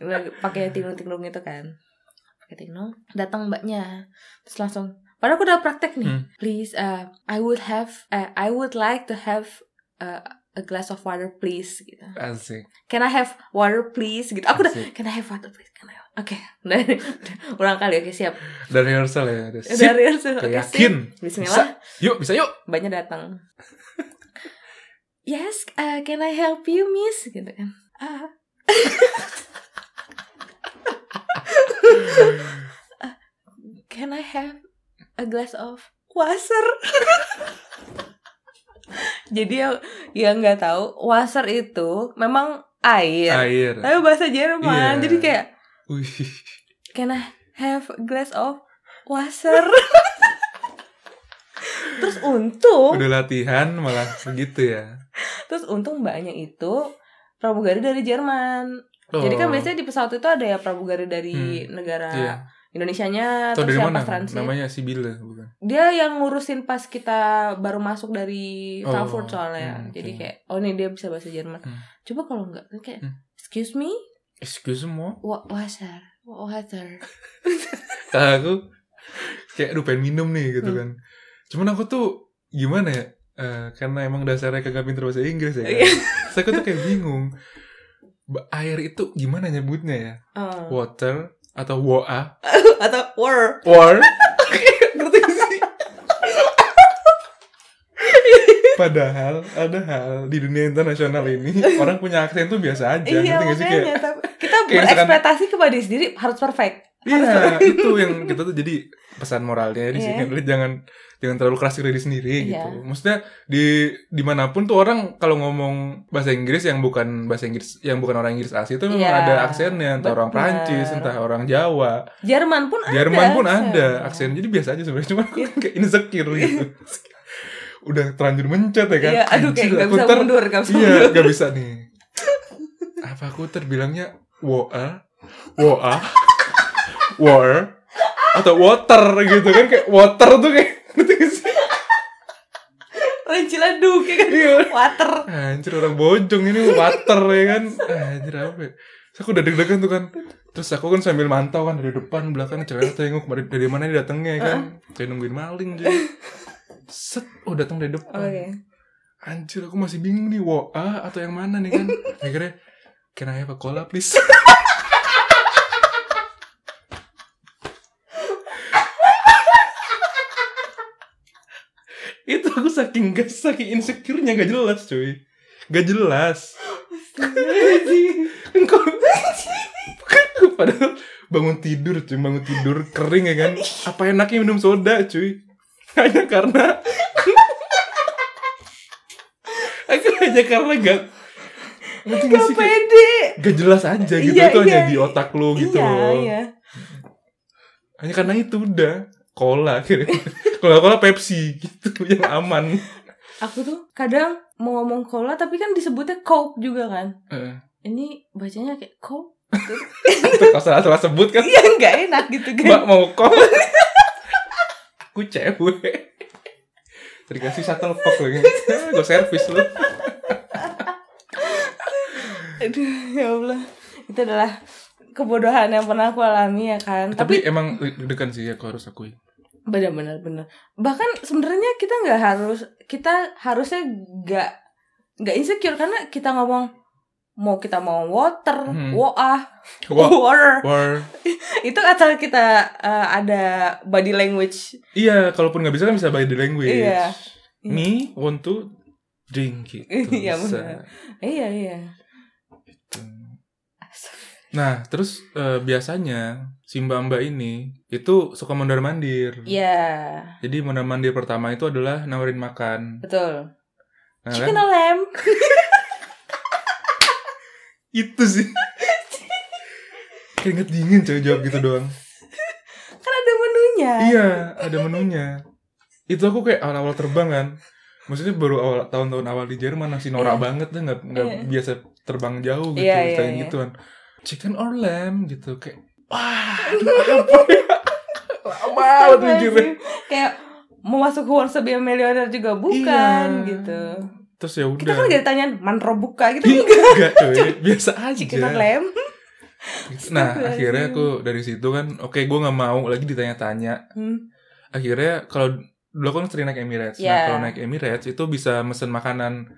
Speaker 2: Lagi pakai tinglung-tinglung itu kan. Pakai tinglung, datang mbaknya. Terus langsung Padahal aku udah praktek nih.
Speaker 1: Hmm.
Speaker 2: Please, uh, I would have, eh, I would like to have uh, a glass of water, please. Gitu.
Speaker 1: asik
Speaker 2: Can I have water, please? Gitu. Aku udah,
Speaker 1: Asik.
Speaker 2: can I have water, please? Can I have- Oke, udah, udah, ulang kali. Oke, siap.
Speaker 1: dari rehearsal ya udah sip
Speaker 2: dari Arsenal.
Speaker 1: Oke,
Speaker 2: Oke,
Speaker 1: yakin
Speaker 2: sip. Bismillah,
Speaker 1: bisa. yuk bisa yuk
Speaker 2: banyak datang. yes, uh, can I help you, Miss? Gitu kan. Ah, can I have a glass of water? Jadi yang yang nggak tahu, water itu memang air.
Speaker 1: air
Speaker 2: Tapi bahasa
Speaker 1: Iya.
Speaker 2: Jerman. Jadi kayak
Speaker 1: Wih.
Speaker 2: can I have a glass of water? Terus untung
Speaker 1: udah latihan malah begitu ya
Speaker 2: Terus untung mbaknya itu pramugari dari Jerman. Jadi kan
Speaker 1: Oh,
Speaker 2: biasanya di pesawat itu ada ya pramugari dari
Speaker 1: Hmm,
Speaker 2: negara
Speaker 1: iya.
Speaker 2: Indonesianya
Speaker 1: Tau dari
Speaker 2: terus yang
Speaker 1: mana
Speaker 2: pas transit.
Speaker 1: namanya si Bila bukan
Speaker 2: Dia yang ngurusin pas kita baru masuk dari
Speaker 1: Oh,
Speaker 2: Frankfurt soalnya.
Speaker 1: hmm,
Speaker 2: Jadi
Speaker 1: oke.
Speaker 2: kayak oh nih dia bisa bahasa Jerman.
Speaker 1: Hmm.
Speaker 2: Coba kalau enggak kan kayak
Speaker 1: Hmm.
Speaker 2: excuse me,
Speaker 1: excuse me
Speaker 2: wa- water, wa- water.
Speaker 1: Kata aku kayak aduh pengen minum nih gitu
Speaker 2: Hmm.
Speaker 1: kan cuman aku tuh gimana ya Eh, karena emang dasarnya kagak pinter bahasa Inggris ya kan?
Speaker 2: Iya.
Speaker 1: Terus aku tuh kayak bingung Ba- air itu gimana nyebutnya ya?
Speaker 2: Oh.
Speaker 1: Water atau woa?
Speaker 2: Atau war.
Speaker 1: War?
Speaker 2: Ngerti nggak sih?
Speaker 1: Padahal ada hal di dunia internasional ini orang punya aksen tuh biasa aja.
Speaker 2: iya,
Speaker 1: ngerti nggak sih? Kayak,
Speaker 2: makanya. tapi Kita
Speaker 1: kayak misalkan-
Speaker 2: berekspektasi kepada diri sendiri harus perfect.
Speaker 1: Iya, itu yang kita tuh jadi pesan moralnya di sini
Speaker 2: Iya.
Speaker 1: Lu jangan jangan terlalu keras ke diri sendiri
Speaker 2: Iya.
Speaker 1: gitu. Maksudnya di dimanapun tuh orang kalau ngomong bahasa Inggris yang bukan bahasa Inggris yang bukan orang Inggris asli itu memang
Speaker 2: Iya,
Speaker 1: ada aksennya entah orang
Speaker 2: bener.
Speaker 1: Prancis, entah orang Jawa,
Speaker 2: Jerman pun ada.
Speaker 1: Jerman pun ada aksen.
Speaker 2: aksen.
Speaker 1: Jadi biasa aja sebenarnya cuma aku kayak insecure gitu. Udah terlanjur mencet ya kan.
Speaker 2: Iya, aduh kayak
Speaker 1: Anjir,
Speaker 2: nggak
Speaker 1: aku
Speaker 2: bisa
Speaker 1: ter-
Speaker 2: mundur, nggak bisa
Speaker 1: Iya,
Speaker 2: mundur.
Speaker 1: nggak bisa nih. Apa aku terbilangnya woa, woa, war, atau water gitu kan kayak water tuh kayak ngerti nggak sih?
Speaker 2: Rencila duk ya kan.
Speaker 1: Iya.
Speaker 2: Water.
Speaker 1: Anjir orang bojong ini water ya kan. Anjir apa ya? Terus aku udah deg-degan tuh kan. Terus aku kan sambil mantau kan dari depan belakang cewek tengok dari, dari mana dia datangnya ya kan. Saya nungguin maling jadi. Set, oh datang dari depan.
Speaker 2: Oke.
Speaker 1: Anjir aku masih bingung nih WA atau yang mana nih kan Akhirnya Can I have a cola please? Itu aku saking gak saking insecure-nya gak jelas cuy Gak jelas Engkau Padahal bangun tidur cuy Bangun tidur kering ya kan Apa enaknya minum soda cuy Hanya karena Aku hanya karena gak Ngerti gak
Speaker 2: Gak
Speaker 1: sih? Kayak
Speaker 2: pede.
Speaker 1: Gak jelas aja gitu
Speaker 2: Iya,
Speaker 1: Itu hanya
Speaker 2: iya.
Speaker 1: di otak lu gitu
Speaker 2: iya,
Speaker 1: loh
Speaker 2: iya.
Speaker 1: Hanya karena itu udah Cola akhirnya Cola-cola Pepsi gitu Yang aman
Speaker 2: Aku tuh kadang mau ngomong cola tapi kan disebutnya coke juga kan.
Speaker 1: Eh,
Speaker 2: Ini bacanya kayak coke.
Speaker 1: Itu kalau salah-salah sebut kan
Speaker 2: Iya nggak enak gitu
Speaker 1: Mbak
Speaker 2: kan.
Speaker 1: mau kok Aku cewek Dikasih shuttle cock lagi Gue servis lu
Speaker 2: Aduh ya Allah. Itu adalah kebodohan yang pernah aku alami ya kan.
Speaker 1: Tapi emang deg-degan sih ya Aku harus akui
Speaker 2: benar-benar benar bahkan sebenarnya kita nggak harus kita harusnya nggak nggak insecure karena kita ngomong mau kita mau water
Speaker 1: Hmm.
Speaker 2: woah
Speaker 1: War,
Speaker 2: water
Speaker 1: war.
Speaker 2: itu asal kita eh, ada body language
Speaker 1: Iya kalaupun gak bisa kan bisa by the language
Speaker 2: Iya.
Speaker 1: Me want to drink it
Speaker 2: Iya, benar. iya iya
Speaker 1: Nah terus eh, biasanya Si mbak-mbak ini Itu suka mondar-mandir
Speaker 2: iya
Speaker 1: Jadi mondar-mandir pertama itu adalah Nawarin makan
Speaker 2: betul
Speaker 1: Nah, kan?
Speaker 2: chicken or lamb
Speaker 1: Itu sih Keringet dingin cewek jawab gitu doang
Speaker 2: kan ada menunya
Speaker 1: Iya, ada menunya. Itu aku kayak awal-awal terbang kan. Maksudnya baru awal tahun-tahun awal di Jerman masih norak
Speaker 2: Iya.
Speaker 1: banget tuh nggak nggak
Speaker 2: Iya.
Speaker 1: biasa terbang jauh gitu,
Speaker 2: Iya, iya,
Speaker 1: ceritain
Speaker 2: iya.
Speaker 1: gitu kan. Chicken or lamb gitu kayak wah aduh, apa ya? Lama banget mikirnya.
Speaker 2: Sih. kayak mau masuk who wants to be a millionaire juga bukan
Speaker 1: Iya.
Speaker 2: gitu
Speaker 1: Terus ya
Speaker 2: kita
Speaker 1: udah. Iya.
Speaker 2: kan gak ditanyain mantro buka gitu enggak
Speaker 1: Enggak cuy, biasa aja.
Speaker 2: chicken or lamb
Speaker 1: Nah
Speaker 2: Astagfirullahaladzim.
Speaker 1: akhirnya aku dari situ kan, oke gue nggak mau lagi ditanya-tanya
Speaker 2: Hmm.
Speaker 1: akhirnya kalau dulu aku kan sering naik Emirates. Nah,
Speaker 2: Iya.
Speaker 1: kalau naik Emirates itu bisa mesen makanan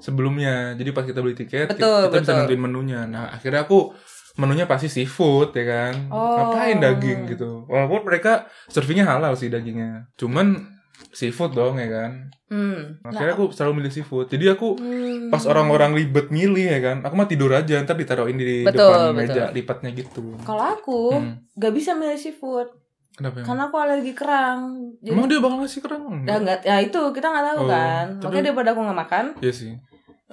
Speaker 1: sebelumnya. Jadi pas kita beli tiket,
Speaker 2: Betul,
Speaker 1: kita bisa
Speaker 2: betul.
Speaker 1: nentuin menunya. Nah, akhirnya aku menunya pasti seafood ya kan.
Speaker 2: Oh.
Speaker 1: Ngapain daging gitu. Walaupun mereka servingnya halal sih dagingnya. Cuman seafood dong ya kan.
Speaker 2: Hmm.
Speaker 1: Akhirnya aku selalu milih seafood. Jadi aku
Speaker 2: Hmm.
Speaker 1: pas orang-orang ribet milih ya kan, aku mah tidur aja ntar ditaruhin di
Speaker 2: Betul,
Speaker 1: depan
Speaker 2: betul.
Speaker 1: meja lipatnya gitu.
Speaker 2: kalau aku
Speaker 1: Hmm,
Speaker 2: gak bisa milih seafood
Speaker 1: Kenapa emang?
Speaker 2: karena aku alergi kerang. Kan Jadi
Speaker 1: Emang dia bakal ngasih kerang?
Speaker 2: ya enggak ya itu kita nggak tahu
Speaker 1: Oh,
Speaker 2: kan.
Speaker 1: tapi-
Speaker 2: Makanya daripada aku nggak makan,
Speaker 1: Iya sih.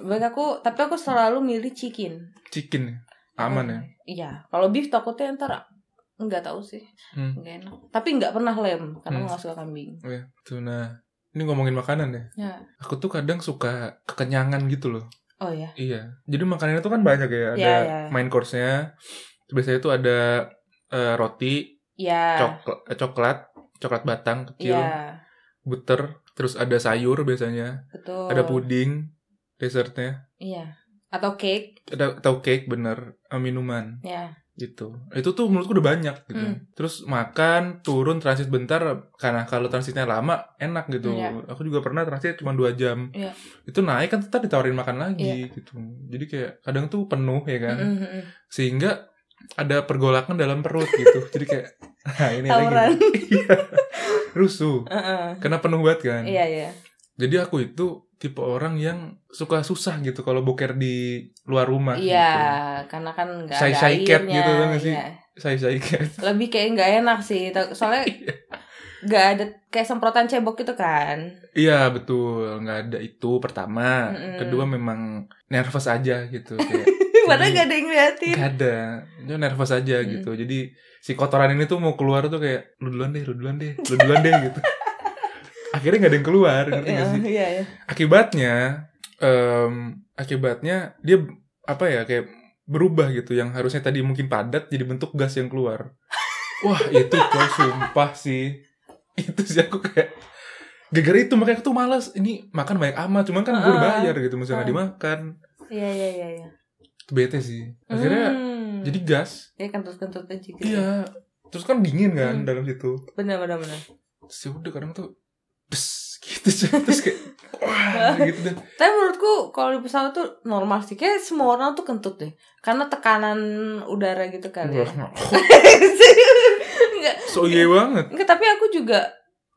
Speaker 2: baik aku tapi aku selalu milih chicken.
Speaker 1: chicken ya? aman ya
Speaker 2: Iya, kalau beef takutnya ntar nggak tahu sih,
Speaker 1: hmm.
Speaker 2: nggak enak. Tapi nggak pernah lem karena
Speaker 1: Hmm.
Speaker 2: aku nggak suka kambing.
Speaker 1: oh, ya. tuh nah ini ngomongin makanan ya
Speaker 2: Ya.
Speaker 1: aku tuh kadang suka kekenyangan gitu loh
Speaker 2: Oh ya.
Speaker 1: iya jadi makanannya tuh kan banyak ya ada
Speaker 2: Iya, iya.
Speaker 1: main course-nya biasanya tuh ada eh, roti
Speaker 2: Ya.
Speaker 1: coklat coklat coklat batang kecil
Speaker 2: Iya,
Speaker 1: butter terus ada sayur biasanya
Speaker 2: betul.
Speaker 1: ada puding dessertnya
Speaker 2: Iya. Atau cake,
Speaker 1: ada atau cake bener eh, minuman
Speaker 2: ya.
Speaker 1: gitu itu tuh menurutku udah banyak gitu
Speaker 2: Hmm.
Speaker 1: terus makan turun transit bentar karena kalau transitnya lama enak gitu
Speaker 2: Iya.
Speaker 1: aku juga pernah transit cuma dua jam
Speaker 2: Iya.
Speaker 1: itu naik kan tetap ditawarin makan lagi gitu jadi kayak kadang tuh penuh ya kan
Speaker 2: Mm, mm, mm.
Speaker 1: sehingga ada pergolakan dalam perut gitu jadi kayak nah ini
Speaker 2: Tawuran.
Speaker 1: lagi Iya. rusuh
Speaker 2: Heeh.
Speaker 1: karena penuh banget kan
Speaker 2: Iya iya.
Speaker 1: jadi aku itu tipe orang yang suka susah gitu kalau boker di luar rumah
Speaker 2: Iya,
Speaker 1: gitu
Speaker 2: karena kan nggak ada
Speaker 1: Sai-sai cat
Speaker 2: airnya.
Speaker 1: gitu tau nggak sih?
Speaker 2: Iya.
Speaker 1: saya saya kayak
Speaker 2: Lebih kayak nggak enak sih. tau- Soalnya
Speaker 1: Iya.
Speaker 2: nggak ada kayak semprotan cebok gitu kan.
Speaker 1: Iya betul nggak ada itu pertama
Speaker 2: Mm-mm.
Speaker 1: kedua memang nervous aja gitu kayak
Speaker 2: Padahal nggak ada yang ngeliatin.
Speaker 1: nggak ada itu nervous aja
Speaker 2: Mm.
Speaker 1: gitu jadi si kotoran ini tuh mau keluar tuh kayak lu duluan deh lu duluan deh lu duluan deh gitu akhirnya nggak ada yang keluar ngerti
Speaker 2: Iya
Speaker 1: nggak sih
Speaker 2: iya. iya.
Speaker 1: akibatnya em, akibatnya dia apa ya kayak berubah gitu yang harusnya tadi mungkin padat jadi bentuk gas yang keluar wah itu coy sumpah sih itu sih aku kayak gara-gara itu makanya aku tuh malas ini makan banyak amat cuman kan gue udah
Speaker 2: Ah.
Speaker 1: bayar gitu misalnya nggak dimakan
Speaker 2: Iya iya iya. iya.
Speaker 1: Itu bete sih akhirnya
Speaker 2: Hmm.
Speaker 1: jadi gas
Speaker 2: ya kentut-kentut aja gitu.
Speaker 1: iya terus kan dingin kan
Speaker 2: Hmm.
Speaker 1: dalam situ
Speaker 2: Benar benar benar.
Speaker 1: terus ya udah kadang tuh bes gitu coy. terus kayak wah gitu deh
Speaker 2: Tapi menurutku kalau di pesawat tuh normal sih. Kayak semua orang tuh kentut deh. Karena tekanan udara gitu kan
Speaker 1: Iya.
Speaker 2: ya. Enggak.
Speaker 1: so iya banget
Speaker 2: Enggak, tapi aku juga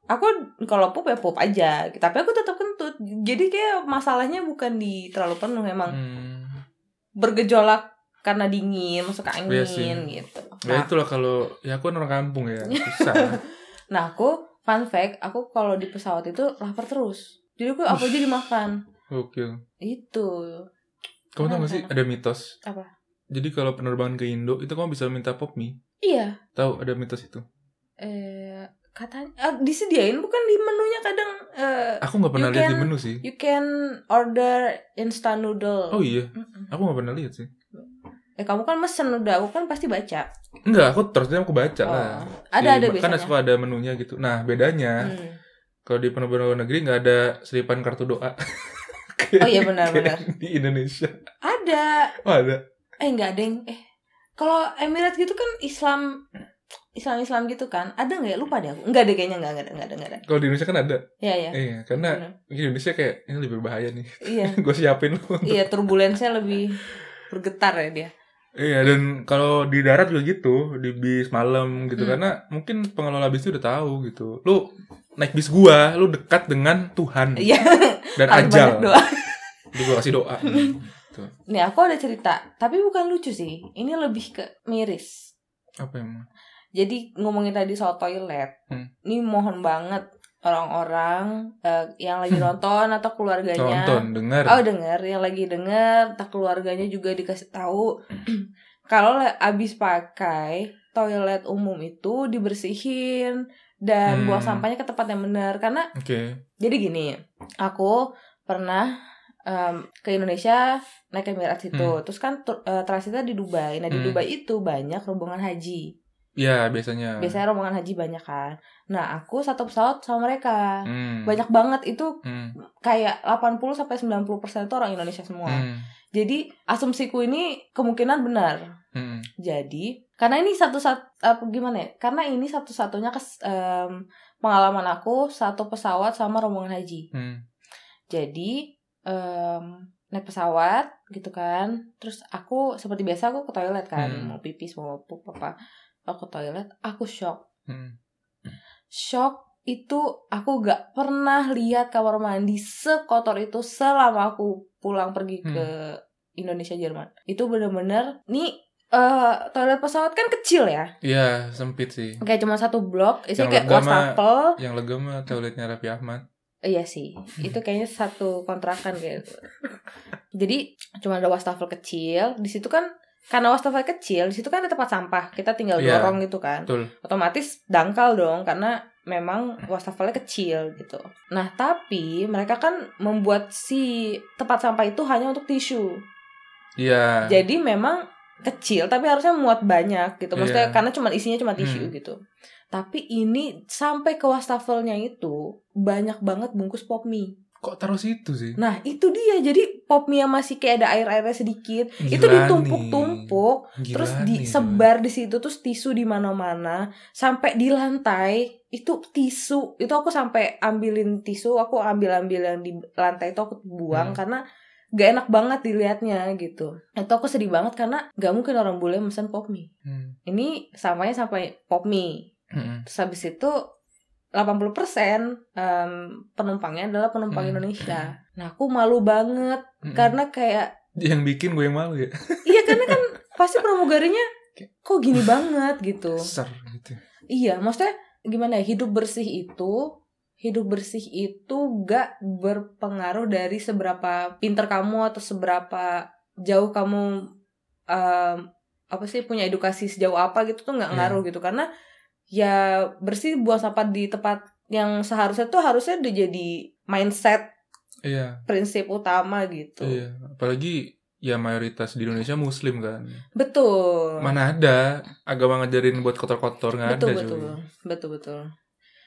Speaker 2: aku kalau pop ya pop aja. Tapi aku tetap kentut. Jadi kayak masalahnya bukan di terlalu penuh emang
Speaker 1: Hmm.
Speaker 2: bergejolak karena dingin, masuk angin
Speaker 1: Iya sih.
Speaker 2: gitu.
Speaker 1: Ya
Speaker 2: Nah,
Speaker 1: itulah kalau ya aku kan orang kampung ya susah.
Speaker 2: nah, aku fun fact, aku kalau di pesawat itu lapar terus. Jadi aku apa aja dimakan.
Speaker 1: Gokil.
Speaker 2: Itu.
Speaker 1: Kamu tau gak sih
Speaker 2: Kenapa?
Speaker 1: ada mitos?
Speaker 2: Apa?
Speaker 1: Jadi kalau penerbangan ke Indo itu kamu bisa minta pop mie.
Speaker 2: Iya,
Speaker 1: Tahu ada mitos itu?
Speaker 2: eh katanya eh, disediain bukan di menunya kadang eh,
Speaker 1: Aku nggak pernah
Speaker 2: You
Speaker 1: lihat di
Speaker 2: can-
Speaker 1: menu sih.
Speaker 2: you can order instant noodle.
Speaker 1: Oh iya,
Speaker 2: Mm-mm.
Speaker 1: aku nggak pernah lihat sih.
Speaker 2: Eh kamu kan mesen udah, aku kan pasti baca.
Speaker 1: Enggak, aku terus dia aku baca
Speaker 2: Oh.
Speaker 1: lah.
Speaker 2: Ada ada
Speaker 1: Kan
Speaker 2: biasanya.
Speaker 1: suka ada menunya gitu. Nah bedanya
Speaker 2: Hmm.
Speaker 1: kalau di penerbangan luar negeri nggak ada selipan kartu doa.
Speaker 2: Oh iya benar-benar.
Speaker 1: Kayak Di Indonesia.
Speaker 2: Ada.
Speaker 1: Oh ada.
Speaker 2: Eh nggak ada yang eh kalau Emirates gitu kan Islam Islam Islam gitu kan ada nggak ya lupa deh aku nggak ada kayaknya nggak nggak ada nggak ada nggak ada
Speaker 1: Kalau di Indonesia kan ada.
Speaker 2: ya ya
Speaker 1: Iya, karena di Indonesia kayak ini lebih bahaya nih.
Speaker 2: iya
Speaker 1: Gue siapin lu. untuk-
Speaker 2: iya turbulensnya lebih bergetar ya dia
Speaker 1: Iya dan kalau di darat juga gitu di bis malam gitu
Speaker 2: Hmm.
Speaker 1: karena mungkin pengelola bis itu udah tahu gitu. Lu naik bis gua, lu dekat dengan Tuhan
Speaker 2: iya
Speaker 1: dan
Speaker 2: harus
Speaker 1: ajal.
Speaker 2: banyak doa Hmm.
Speaker 1: Jadi gua kasih doa. gitu.
Speaker 2: nih aku ada cerita tapi bukan lucu sih ini lebih ke miris
Speaker 1: Apa emang?
Speaker 2: jadi ngomongin tadi soal toilet
Speaker 1: Hmm.
Speaker 2: ini mohon banget orang-orang eh, yang lagi nonton atau keluarganya
Speaker 1: Nonton, dengar.
Speaker 2: Oh dengar yang lagi dengar, tak keluarganya juga dikasih tahu kalau le- abis pakai toilet umum itu dibersihin dan
Speaker 1: Hmm.
Speaker 2: buang sampahnya ke tempat yang benar karena
Speaker 1: Oke.
Speaker 2: jadi gini aku pernah em, ke Indonesia naik Emirates itu terus kan tur- eh, transitnya di Dubai nah di
Speaker 1: Hmm.
Speaker 2: Dubai itu banyak rombongan haji
Speaker 1: Ya, biasanya.
Speaker 2: biasanya rombongan haji banyak kan nah aku satu pesawat sama mereka
Speaker 1: Hmm.
Speaker 2: banyak banget itu
Speaker 1: Hmm.
Speaker 2: kayak 80 sampai 90% itu orang Indonesia semua
Speaker 1: Hmm.
Speaker 2: jadi asumsiku ini kemungkinan benar.
Speaker 1: Hmm.
Speaker 2: Jadi karena ini satu sat apa gimana ya? Karena ini satu-satunya kes- em, pengalaman aku satu pesawat sama rombongan haji.
Speaker 1: Hmm.
Speaker 2: Jadi em, naik pesawat gitu kan. Terus aku seperti biasa aku ke toilet kan,
Speaker 1: Hmm.
Speaker 2: mau pipis mau pup apa. Aku ke toilet, aku shock.
Speaker 1: Hmm.
Speaker 2: Shock itu aku gak pernah lihat kamar mandi sekotor itu selama aku pulang pergi ke
Speaker 1: Hmm.
Speaker 2: Indonesia Jerman itu bener-bener nih eh, toilet pesawat kan kecil ya
Speaker 1: Iya, sempit sih.
Speaker 2: kayak cuma satu blok isinya
Speaker 1: Yang
Speaker 2: kayak
Speaker 1: lega mah-
Speaker 2: wastafel
Speaker 1: Yang lega mah toiletnya Raffi Ahmad.
Speaker 2: Eh, iya sih
Speaker 1: Oh.
Speaker 2: itu kayaknya satu kontrakan kayak gitu. jadi cuma ada wastafel kecil di situ kan karena wastafel kecil di situ kan ada tempat sampah kita tinggal
Speaker 1: Iya.
Speaker 2: dorong gitu kan
Speaker 1: Betul.
Speaker 2: otomatis dangkal dong karena memang wastafelnya kecil gitu nah tapi mereka kan membuat si tempat sampah itu hanya untuk tisu
Speaker 1: Iya.
Speaker 2: Jadi memang kecil tapi harusnya muat banyak gitu. Maksudnya
Speaker 1: Iya.
Speaker 2: karena cuma isinya cuma tisu
Speaker 1: Hmm.
Speaker 2: gitu. Tapi ini sampai ke wastafelnya itu banyak banget bungkus pop mie.
Speaker 1: Kok taruh situ sih?
Speaker 2: Nah, itu dia. Jadi popnya masih kayak ada air-airnya sedikit
Speaker 1: Gila
Speaker 2: itu
Speaker 1: nih.
Speaker 2: ditumpuk-tumpuk
Speaker 1: Gila
Speaker 2: terus
Speaker 1: nih,
Speaker 2: disebar di situ terus tisu di mana-mana sampai di lantai itu tisu itu aku sampai ambilin tisu aku ambil-ambil yang di lantai itu aku buang
Speaker 1: Hmm.
Speaker 2: karena gak enak banget dilihatnya gitu itu aku sedih banget karena gak mungkin orang bule mesen pop mie
Speaker 1: coy. Hmm.
Speaker 2: ini samanya sampai pop mie
Speaker 1: Mm-mm.
Speaker 2: terus habis itu 80% em, penumpangnya adalah penumpang
Speaker 1: Hmm.
Speaker 2: Indonesia. Nah, aku malu banget
Speaker 1: Mm-mm.
Speaker 2: karena kayak
Speaker 1: Hmm. yang bikin gue yang malu ya
Speaker 2: Iya karena kan pasti pramugarinya kok gini banget gitu.
Speaker 1: ser gitu
Speaker 2: Iya, maksudnya gimana ya hidup bersih itu hidup bersih itu gak berpengaruh dari seberapa pinter kamu atau seberapa jauh kamu em, apa sih punya edukasi sejauh apa gitu tuh nggak
Speaker 1: Iya.
Speaker 2: ngaruh gitu karena ya bersih buang sampah di tempat yang seharusnya tuh harusnya udah jadi mindset
Speaker 1: iya
Speaker 2: prinsip utama gitu
Speaker 1: iya apalagi ya mayoritas di Indonesia muslim kan
Speaker 2: betul
Speaker 1: mana ada agama ngajarin buat kotor-kotor nggak ada
Speaker 2: betul
Speaker 1: cuy
Speaker 2: betul betul betul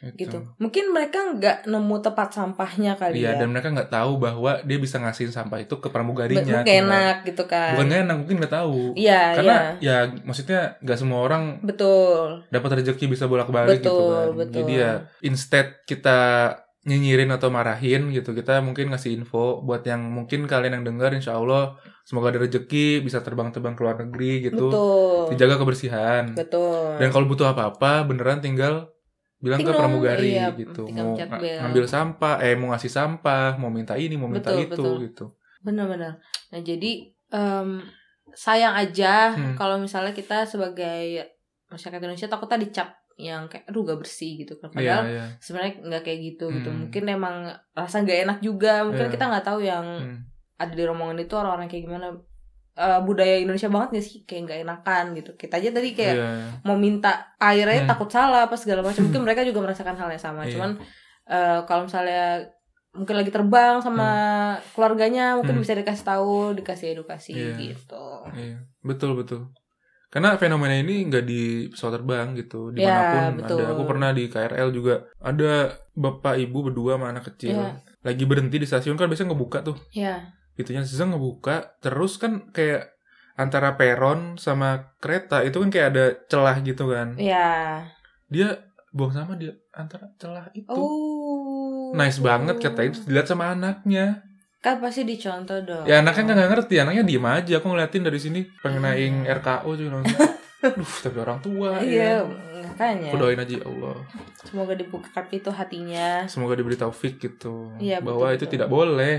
Speaker 1: Gitu.
Speaker 2: gitu. Mungkin mereka nggak nemu tempat sampahnya kali
Speaker 1: Iya,
Speaker 2: ya.
Speaker 1: dan mereka nggak tahu bahwa dia bisa ngasihin sampah itu ke
Speaker 2: Mungkin
Speaker 1: pramugarinya.
Speaker 2: enak gitu
Speaker 1: Tinggal-
Speaker 2: kan.
Speaker 1: Bukan nggak enak, mungkin nggak tahu.
Speaker 2: Iya,
Speaker 1: Karena
Speaker 2: iya.
Speaker 1: ya maksudnya nggak semua orang
Speaker 2: Betul.
Speaker 1: dapat rezeki bisa bolak-balik gitu
Speaker 2: Betul,
Speaker 1: kan.
Speaker 2: betul.
Speaker 1: Jadi ya instead kita nyinyirin atau marahin gitu, kita mungkin ngasih info buat yang mungkin kalian yang dengar insya Allah semoga ada rezeki bisa terbang-terbang ke luar negeri gitu.
Speaker 2: Betul.
Speaker 1: Dijaga kebersihan.
Speaker 2: Betul.
Speaker 1: Dan kalau butuh apa-apa beneran tinggal bilang ke
Speaker 2: Ting dong,
Speaker 1: pramugari
Speaker 2: iya,
Speaker 1: gitu.
Speaker 2: tinggal
Speaker 1: Mau
Speaker 2: pencet
Speaker 1: ng-
Speaker 2: bel.
Speaker 1: ngambil sampah, eh mau ngasih sampah, mau minta ini, mau minta
Speaker 2: Betul,
Speaker 1: itu
Speaker 2: betul.
Speaker 1: gitu.
Speaker 2: Benar-benar. Nah, jadi em, sayang aja
Speaker 1: Hmm.
Speaker 2: kalau misalnya kita sebagai masyarakat Indonesia takutnya dicap yang kayak aduh gak bersih gitu kan.
Speaker 1: Iya,
Speaker 2: Padahal
Speaker 1: iya.
Speaker 2: sebenarnya nggak kayak gitu gitu.
Speaker 1: Hmm.
Speaker 2: Mungkin emang rasa nggak enak juga.
Speaker 1: Iya.
Speaker 2: Mungkin kita nggak tahu yang
Speaker 1: Hmm.
Speaker 2: ada di rombongan itu orang-orang kayak gimana. Eh, budaya Indonesia banget gak sih kayak nggak enakan gitu. Kita aja tadi kayak
Speaker 1: Iya, iya.
Speaker 2: mau minta air aja
Speaker 1: Hmm.
Speaker 2: takut salah apa segala macam mungkin mereka juga merasakan hal yang sama
Speaker 1: Iya.
Speaker 2: cuman eh, kalau misalnya mungkin lagi terbang sama keluarganya mungkin
Speaker 1: Hmm.
Speaker 2: bisa dikasih tahu dikasih edukasi
Speaker 1: Iya.
Speaker 2: gitu
Speaker 1: Iya, betul betul. Karena fenomena ini nggak di pesawat terbang gitu,
Speaker 2: Ya,
Speaker 1: dimanapun
Speaker 2: betul.
Speaker 1: ada. Aku pernah di KRL juga ada bapak ibu berdua sama anak kecil.
Speaker 2: Iya.
Speaker 1: Lagi berhenti di stasiun kan biasanya ngebuka tuh,
Speaker 2: ya
Speaker 1: itunya Zeng ngebuka. Terus kan kayak antara peron sama kereta itu kan kayak ada celah gitu kan.
Speaker 2: ya
Speaker 1: Dia buang sama dia antara celah itu.
Speaker 2: oh
Speaker 1: Nice banget kata itu dilihat sama anaknya.
Speaker 2: kan pasti dicontoh dong
Speaker 1: Ya anaknya kan nggak ngerti, anaknya diem aja. Aku ngeliatin dari sini pengen
Speaker 2: Iya.
Speaker 1: naik RKO juga langsung. Duh, tapi orang tua ya.
Speaker 2: iya makanya
Speaker 1: Aku doain aja ya Allah.
Speaker 2: semoga dibuka pintu hatinya
Speaker 1: Semoga diberi taufik gitu.
Speaker 2: Iya, betul,
Speaker 1: bahwa itu
Speaker 2: betul.
Speaker 1: tidak boleh.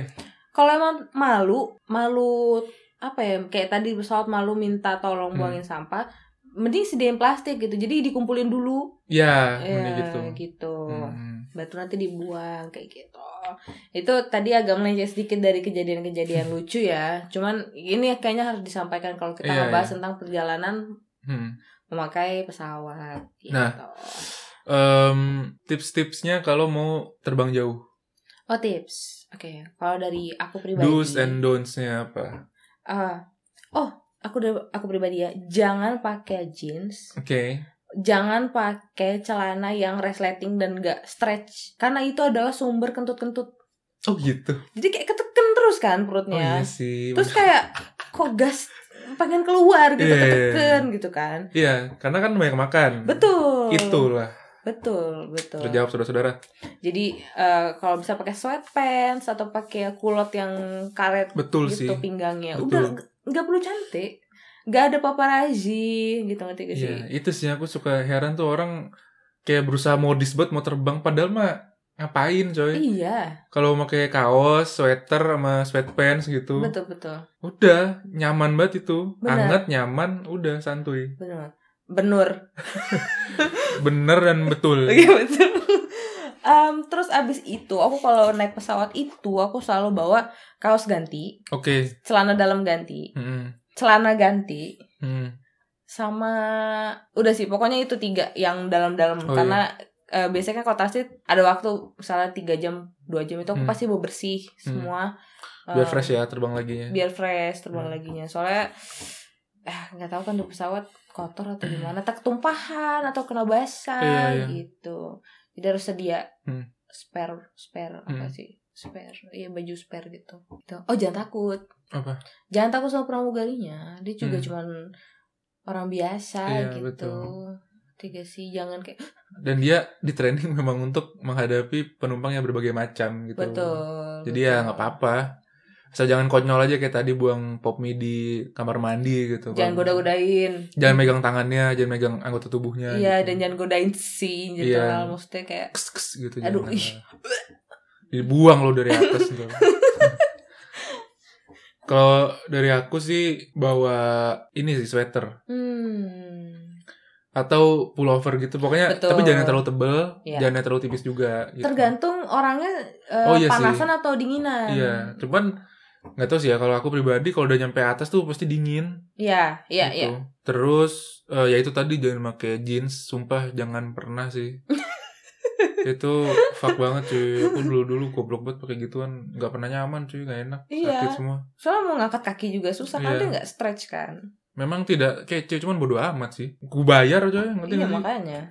Speaker 2: kalau emang malu malu apa ya kayak tadi di pesawat malu minta tolong
Speaker 1: Hmm.
Speaker 2: buangin sampah mending sediain plastik gitu jadi dikumpulin dulu
Speaker 1: Ya,
Speaker 2: ya
Speaker 1: mending gitu.
Speaker 2: gitu
Speaker 1: Hmm.
Speaker 2: batu nanti dibuang kayak gitu itu tadi agak melenceng sedikit dari kejadian-kejadian lucu ya cuman ini kayaknya harus disampaikan kalau kita
Speaker 1: Iya,
Speaker 2: ngebahas
Speaker 1: iya.
Speaker 2: tentang perjalanan
Speaker 1: Hmm.
Speaker 2: memakai pesawat gitu.
Speaker 1: Nah. Em, tips-tipsnya kalau mau terbang jauh.
Speaker 2: oh tips oke kalau dari aku pribadi
Speaker 1: Do's and don'ts-nya apa?
Speaker 2: Ah. oh aku dari- aku pribadi ya jangan pakai jeans
Speaker 1: Oke.
Speaker 2: jangan pakai celana yang resleting dan gak stretch karena itu adalah sumber kentut-kentut
Speaker 1: Oh gitu.
Speaker 2: jadi kayak ketekan terus kan
Speaker 1: Oh iya
Speaker 2: perutnya
Speaker 1: sih.
Speaker 2: terus kayak kok gas pengen keluar gitu
Speaker 1: Iya, iya, iya.
Speaker 2: ketekan gitu kan
Speaker 1: Iya, karena kan banyak makan.
Speaker 2: betul
Speaker 1: Itulah.
Speaker 2: betul betul
Speaker 1: Terjawab saudara-saudara.
Speaker 2: jadi eh, kalau bisa pakai sweatpants atau pakai kulot yang karet
Speaker 1: Betul sih.
Speaker 2: gitu pinggangnya
Speaker 1: Betul.
Speaker 2: udah nggak- nggak perlu cantik nggak ada paparazzi gitu ngerti gak sih
Speaker 1: Iya, itu sih aku suka heran tuh orang kayak berusaha modis banget mau terbang padahal mah ngapain coy?
Speaker 2: iya
Speaker 1: kalau pakai kaos, sweater sama sweatpants gitu.
Speaker 2: betul betul
Speaker 1: Udah nyaman banget itu.
Speaker 2: Benar.
Speaker 1: Anget, nyaman, udah santuy.
Speaker 2: benar benur
Speaker 1: Bener dan betul.
Speaker 2: Oke betul. Em, terus abis itu aku kalau naik pesawat itu aku selalu bawa kaos ganti,
Speaker 1: Oke.
Speaker 2: celana dalam ganti,
Speaker 1: Mm-mm.
Speaker 2: celana ganti,
Speaker 1: Mm.
Speaker 2: sama udah sih pokoknya itu tiga yang dalam-dalam
Speaker 1: Oh,
Speaker 2: karena eh, biasanya kan kalau tas sih ada waktu misalnya tiga jam dua jam itu aku
Speaker 1: Hmm.
Speaker 2: pasti mau bersih semua. Eh,
Speaker 1: Biar
Speaker 2: Em,
Speaker 1: fresh ya terbang laginya.
Speaker 2: Biar fresh terbang
Speaker 1: Hmm.
Speaker 2: laginya soalnya eh nggak tahu kan di pesawat kotor atau gimana, tak ketumpahan atau kena basah
Speaker 1: Iya, iya.
Speaker 2: gitu. Jadi harus sedia
Speaker 1: Hmm.
Speaker 2: spare spare apa
Speaker 1: Hmm.
Speaker 2: sih spare iya baju spare gitu Gitu. oh jangan takut
Speaker 1: Apa?
Speaker 2: jangan takut sama pramugarinya dia juga
Speaker 1: Hmm.
Speaker 2: cuman orang biasa
Speaker 1: Iya,
Speaker 2: gitu
Speaker 1: betul.
Speaker 2: tiga sih jangan kayak
Speaker 1: Dan dia di training memang untuk menghadapi penumpang yang berbagai macam gitu.
Speaker 2: betul
Speaker 1: Jadi
Speaker 2: betul.
Speaker 1: ya nggak apa-apa. Asal jangan konyol aja kayak tadi buang pop mie di kamar mandi gitu.
Speaker 2: jangan
Speaker 1: Kalau-
Speaker 2: goda-godain
Speaker 1: Jangan megang tangannya, jangan megang anggota tubuhnya.
Speaker 2: iya
Speaker 1: gitu.
Speaker 2: dan jangan godain si in
Speaker 1: Iya.
Speaker 2: general maksudnya kayak
Speaker 1: Kes, kes, gitu.
Speaker 2: Aduh,
Speaker 1: jangan.
Speaker 2: ih.
Speaker 1: Dibuang lo dari atas tuh. Kalau dari aku sih bawa ini sih sweater
Speaker 2: hmm
Speaker 1: atau pullover gitu pokoknya
Speaker 2: Betul.
Speaker 1: tapi jangan yang terlalu tebel,
Speaker 2: Iya.
Speaker 1: jangan yang terlalu tipis juga gitu.
Speaker 2: tergantung orangnya eh,
Speaker 1: Oh, iya sih.
Speaker 2: panasan atau dinginan
Speaker 1: Iya, cuman nggak tahu sih ya kalau aku pribadi kalau udah nyampe atas tuh pasti dingin.
Speaker 2: iya iya
Speaker 1: gitu.
Speaker 2: iya
Speaker 1: Terus eh, ya itu tadi jangan pakai jeans, sumpah jangan pernah sih. itu fuck banget cuy. Aku dulu dulu goblok banget pakai gituan, nggak pernah nyaman cuy, nggak enak,
Speaker 2: Iya.
Speaker 1: sakit semua.
Speaker 2: soalnya mau ngangkat kaki juga susah
Speaker 1: Iya.
Speaker 2: kan dia nggak stretch kan
Speaker 1: Memang tidak kece, cuman bodo amat sih. Ku bayar aja, ngerti nggak
Speaker 2: iya
Speaker 1: sih?
Speaker 2: makanya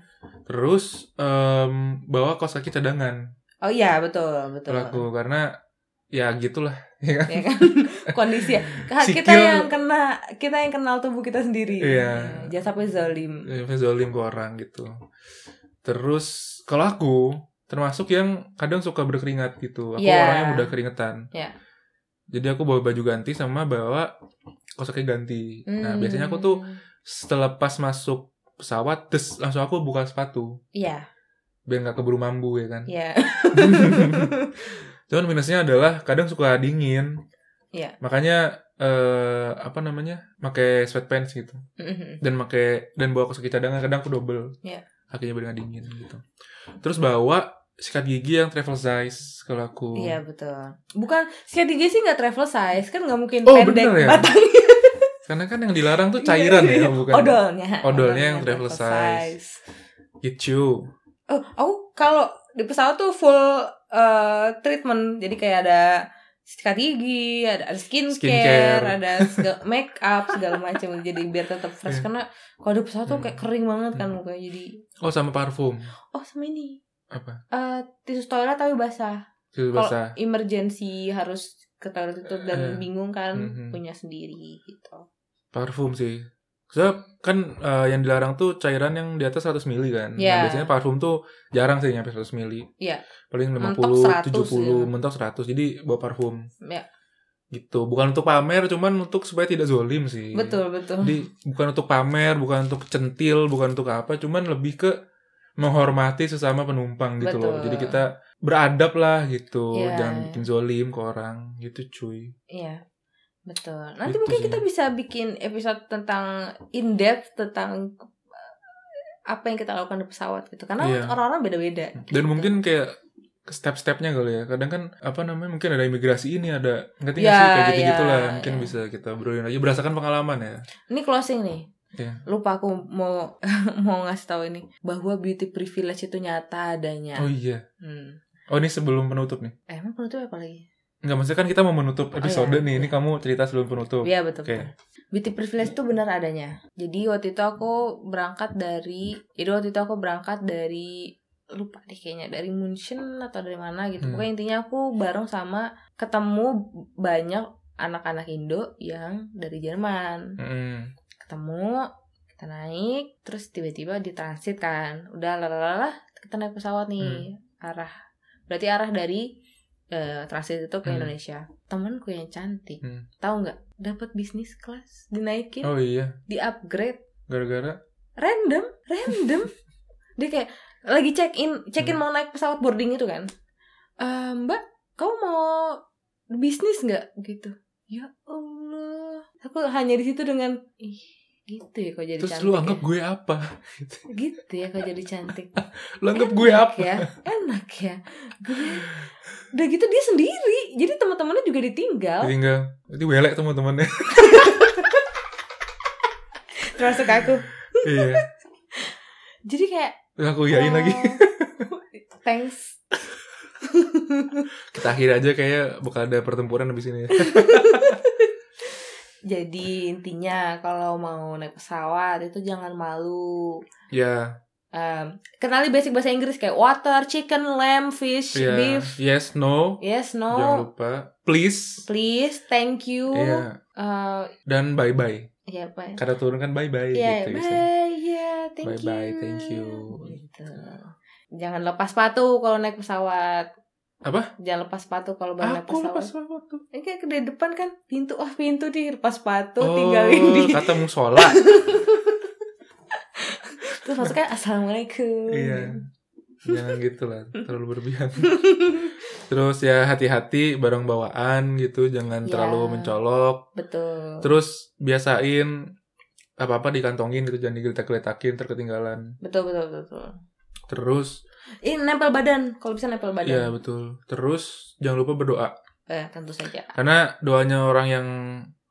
Speaker 1: Terus em, bawa kaos kaki cadangan
Speaker 2: oh iya betul betul
Speaker 1: kalau aku karena ya gitulah. Ya kan?
Speaker 2: ya kan kondisi ya. Ka-
Speaker 1: Sikil-
Speaker 2: kita yang kena kita yang kenal tubuh kita sendiri
Speaker 1: Iya.
Speaker 2: jangan sampai zalim
Speaker 1: Ya, zolim ke orang gitu. Terus kalau aku termasuk yang kadang suka berkeringat gitu. Aku
Speaker 2: Iya.
Speaker 1: orangnya mudah keringetan.
Speaker 2: Iya.
Speaker 1: Jadi aku bawa baju ganti sama bawa kaos kaki ganti.
Speaker 2: Hmm.
Speaker 1: Nah, biasanya aku tuh setelah pas masuk pesawat, terus langsung aku buka sepatu
Speaker 2: iya
Speaker 1: biar nggak keburu mambu ya kan.
Speaker 2: iya
Speaker 1: Cuman minusnya adalah kadang suka dingin.
Speaker 2: Iya.
Speaker 1: Makanya eh apa namanya? pakai sweatpants gitu. dan pakai dan bawa kaos kaki cadangan kadang aku double
Speaker 2: Iya.
Speaker 1: kakinya benar dingin gitu terus bawa sikat gigi yang travel size kalau aku
Speaker 2: iya betul bukan sikat gigi sih nggak travel size kan nggak mungkin
Speaker 1: Oh,
Speaker 2: pendek
Speaker 1: bener ya?
Speaker 2: batang
Speaker 1: karena kan yang dilarang tuh cairan ya
Speaker 2: Iya.
Speaker 1: bukan
Speaker 2: odolnya
Speaker 1: Odolnya yang travel gitu
Speaker 2: oh aku kalau di pesawat tuh full eh, treatment jadi kayak ada sikat gigi ada, ada skincare,
Speaker 1: Skincare.
Speaker 2: ada segala, make up segala macam jadi biar tetap fresh
Speaker 1: Iya.
Speaker 2: karena kalau di pesawat tuh kayak kering banget kan
Speaker 1: Hmm.
Speaker 2: mukanya jadi
Speaker 1: oh sama parfum
Speaker 2: oh sama ini
Speaker 1: apa
Speaker 2: Eh, tisu toilet tapi basah
Speaker 1: tisu
Speaker 2: Kalau-
Speaker 1: basah
Speaker 2: emergency harus ke toilet itu
Speaker 1: Eh,
Speaker 2: dan bingung kan
Speaker 1: mhm.
Speaker 2: punya sendiri gitu
Speaker 1: parfum sih so kan eh, yang dilarang tuh cairan yang di atas 100 mili kan Nah,
Speaker 2: Iya.
Speaker 1: biasanya parfum tuh jarang sih nyampe 100 mili
Speaker 2: Iya.
Speaker 1: paling 50
Speaker 2: Mentok 100
Speaker 1: 70
Speaker 2: ya.
Speaker 1: mentok 100 jadi bawa parfum
Speaker 2: Iya.
Speaker 1: gitu bukan untuk pamer cuman untuk supaya tidak zolim sih
Speaker 2: betul betul
Speaker 1: Jadi bukan untuk pamer, bukan untuk centil, bukan untuk apa, cuman lebih ke menghormati sesama penumpang gitu loh.
Speaker 2: Betul.
Speaker 1: Jadi kita beradab lah gitu,
Speaker 2: Iya.
Speaker 1: jangan bikin zolim ke orang gitu cuy.
Speaker 2: Iya, betul. Nanti
Speaker 1: Gitu
Speaker 2: mungkin
Speaker 1: sih.
Speaker 2: kita bisa bikin episode tentang in depth tentang uh, apa yang kita lakukan di pesawat gitu. Karena
Speaker 1: Iya.
Speaker 2: orang-orang beda-beda. gitu.
Speaker 1: Dan mungkin kayak step-stepnya kali ya. Kadang kan apa namanya mungkin ada imigrasi ini ada ngerti nggak
Speaker 2: Ya,
Speaker 1: sih kayak gitu-gitu
Speaker 2: ya,
Speaker 1: lah. Mungkin
Speaker 2: ya.
Speaker 1: bisa kita obrolin aja berdasarkan pengalaman ya.
Speaker 2: Ini closing nih.
Speaker 1: Iya.
Speaker 2: Lupa aku mau mau ngasih tahu ini bahwa beauty privilege itu nyata adanya.
Speaker 1: Oh iya.
Speaker 2: Hmm.
Speaker 1: Oh ini sebelum penutup nih.
Speaker 2: Eh, emang penutup apa lagi?
Speaker 1: Enggak maksudnya kan kita mau menutup episode
Speaker 2: iya.
Speaker 1: nih. Ini kamu cerita sebelum penutup.
Speaker 2: Iya betul.
Speaker 1: Oke.
Speaker 2: betul. Beauty privilege itu benar adanya. Jadi waktu itu aku berangkat dari, jadi waktu itu aku berangkat dari lupa deh kayaknya dari Munchen atau dari mana gitu.
Speaker 1: Hmm.
Speaker 2: Pokoknya intinya aku bareng sama ketemu banyak anak-anak Indo yang dari Jerman.
Speaker 1: Mm-mm.
Speaker 2: Ketemu, kita naik, terus tiba-tiba ditransit kan. Udah lalalalah, kita naik pesawat
Speaker 1: Hmm.
Speaker 2: nih arah. Berarti arah dari eh, transit itu ke
Speaker 1: Hmm.
Speaker 2: Indonesia. Temanku yang cantik,
Speaker 1: Hmm.
Speaker 2: tahu nggak? Dapat bisnis kelas, dinaikin
Speaker 1: Oh iya.
Speaker 2: di upgrade
Speaker 1: Gara-gara
Speaker 2: random random dia kayak lagi check in check
Speaker 1: Hmm.
Speaker 2: in mau naik pesawat boarding itu kan "Eh, mbak kamu mau bisnis nggak gitu ya allah aku hanya di situ dengan ih gitu ya kau jadi
Speaker 1: terus
Speaker 2: cantik
Speaker 1: lu anggap
Speaker 2: ya.
Speaker 1: gue apa?
Speaker 2: gitu ya kau jadi cantik
Speaker 1: Lu anggap gue apa?
Speaker 2: ya enak ya gue udah gitu dia sendiri jadi teman-temannya juga ditinggal
Speaker 1: Jadi enggak, jadi welek teman-temannya.
Speaker 2: termasuk aku
Speaker 1: iya.
Speaker 2: jadi kayak
Speaker 1: Terus aku yain
Speaker 2: "Oh,
Speaker 1: lagi.
Speaker 2: thanks
Speaker 1: Kita akhir aja kayak bakal ada pertempuran habis ini.
Speaker 2: Jadi intinya kalau mau naik pesawat itu jangan malu.
Speaker 1: ya,
Speaker 2: Um, kenali basic bahasa Inggris kayak water, chicken, lamb, fish,
Speaker 1: Iya.
Speaker 2: beef, Oh.
Speaker 1: Yes, no.
Speaker 2: yes,
Speaker 1: Jangan
Speaker 2: no,
Speaker 1: lupa. Please.
Speaker 2: please, thank you,
Speaker 1: Iya.
Speaker 2: Eh,
Speaker 1: Dan bye-bye.
Speaker 2: ya apa?
Speaker 1: Karena turun kan bye-bye
Speaker 2: Ya,
Speaker 1: gitu. biasanya.
Speaker 2: bye, ya, thank you.
Speaker 1: Bye-bye, thank you.
Speaker 2: Gitu. Jangan lepas sepatu kalau naik pesawat.
Speaker 1: Apa?
Speaker 2: Jangan lepas sepatu kalau baru naik
Speaker 1: Aku
Speaker 2: pesawat.
Speaker 1: lepas waktu.
Speaker 2: Ini kayak ke depan kan pintu, ah pintu di lepas sepatu
Speaker 1: Oh,
Speaker 2: tinggalin di.
Speaker 1: kata musola.
Speaker 2: Terus masuknya assalamualaikum.
Speaker 1: Iya. Jangan gitu lah, terlalu berlebihan. Terus ya hati-hati barang bawaan gitu, jangan
Speaker 2: Iya.
Speaker 1: terlalu mencolok.
Speaker 2: Betul.
Speaker 1: Terus biasain apa-apa dikantongin gitu, jangan digeletak-geletakin ntar ketinggalan.
Speaker 2: Betul betul betul. betul.
Speaker 1: Terus
Speaker 2: Ini nempel badan, kalau bisa nempel
Speaker 1: ya
Speaker 2: badan.
Speaker 1: betul. Terus jangan lupa berdoa. Iya.
Speaker 2: Eh, tentu saja.
Speaker 1: Karena doanya orang yang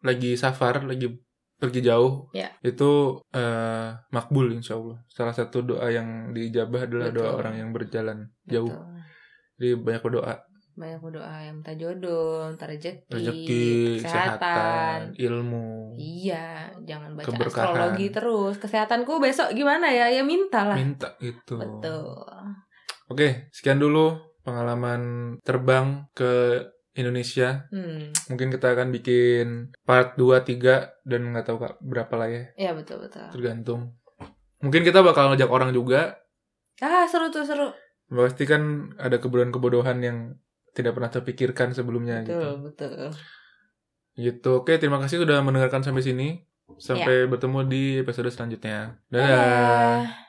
Speaker 1: lagi safar, lagi pergi jauh,
Speaker 2: Iya.
Speaker 1: itu eh, makbul insya Allah. Salah satu doa yang dijabah adalah doa
Speaker 2: Betul.
Speaker 1: orang yang berjalan jauh.
Speaker 2: Betul.
Speaker 1: Jadi banyak berdoa.
Speaker 2: Banyak berdoa yang minta jodoh, minta rezeki,
Speaker 1: rezeki, kesehatan, ilmu.
Speaker 2: Iya, jangan baca
Speaker 1: Keberkahan.
Speaker 2: astrologi terus. Kesehatanku besok gimana ya? Ya mintalah.
Speaker 1: Minta gitu.
Speaker 2: Betul.
Speaker 1: Oke, sekian dulu pengalaman terbang ke Indonesia.
Speaker 2: Hmm,
Speaker 1: Mungkin kita akan bikin part 2, 3 dan nggak tahu Kak, berapa lah ya,
Speaker 2: ya betul betul.
Speaker 1: tergantung. Mungkin kita bakal ngajak orang juga.
Speaker 2: Ah, seru tuh seru.
Speaker 1: Gitu. Pasti kan ada kebodohan-kebodohan yang tidak pernah terpikirkan sebelumnya
Speaker 2: betul, betul.
Speaker 1: gitu. Gitu. Oke, terima kasih sudah mendengarkan sampai sini. Sampai bertemu di episode selanjutnya. Dadah.
Speaker 2: Dadah.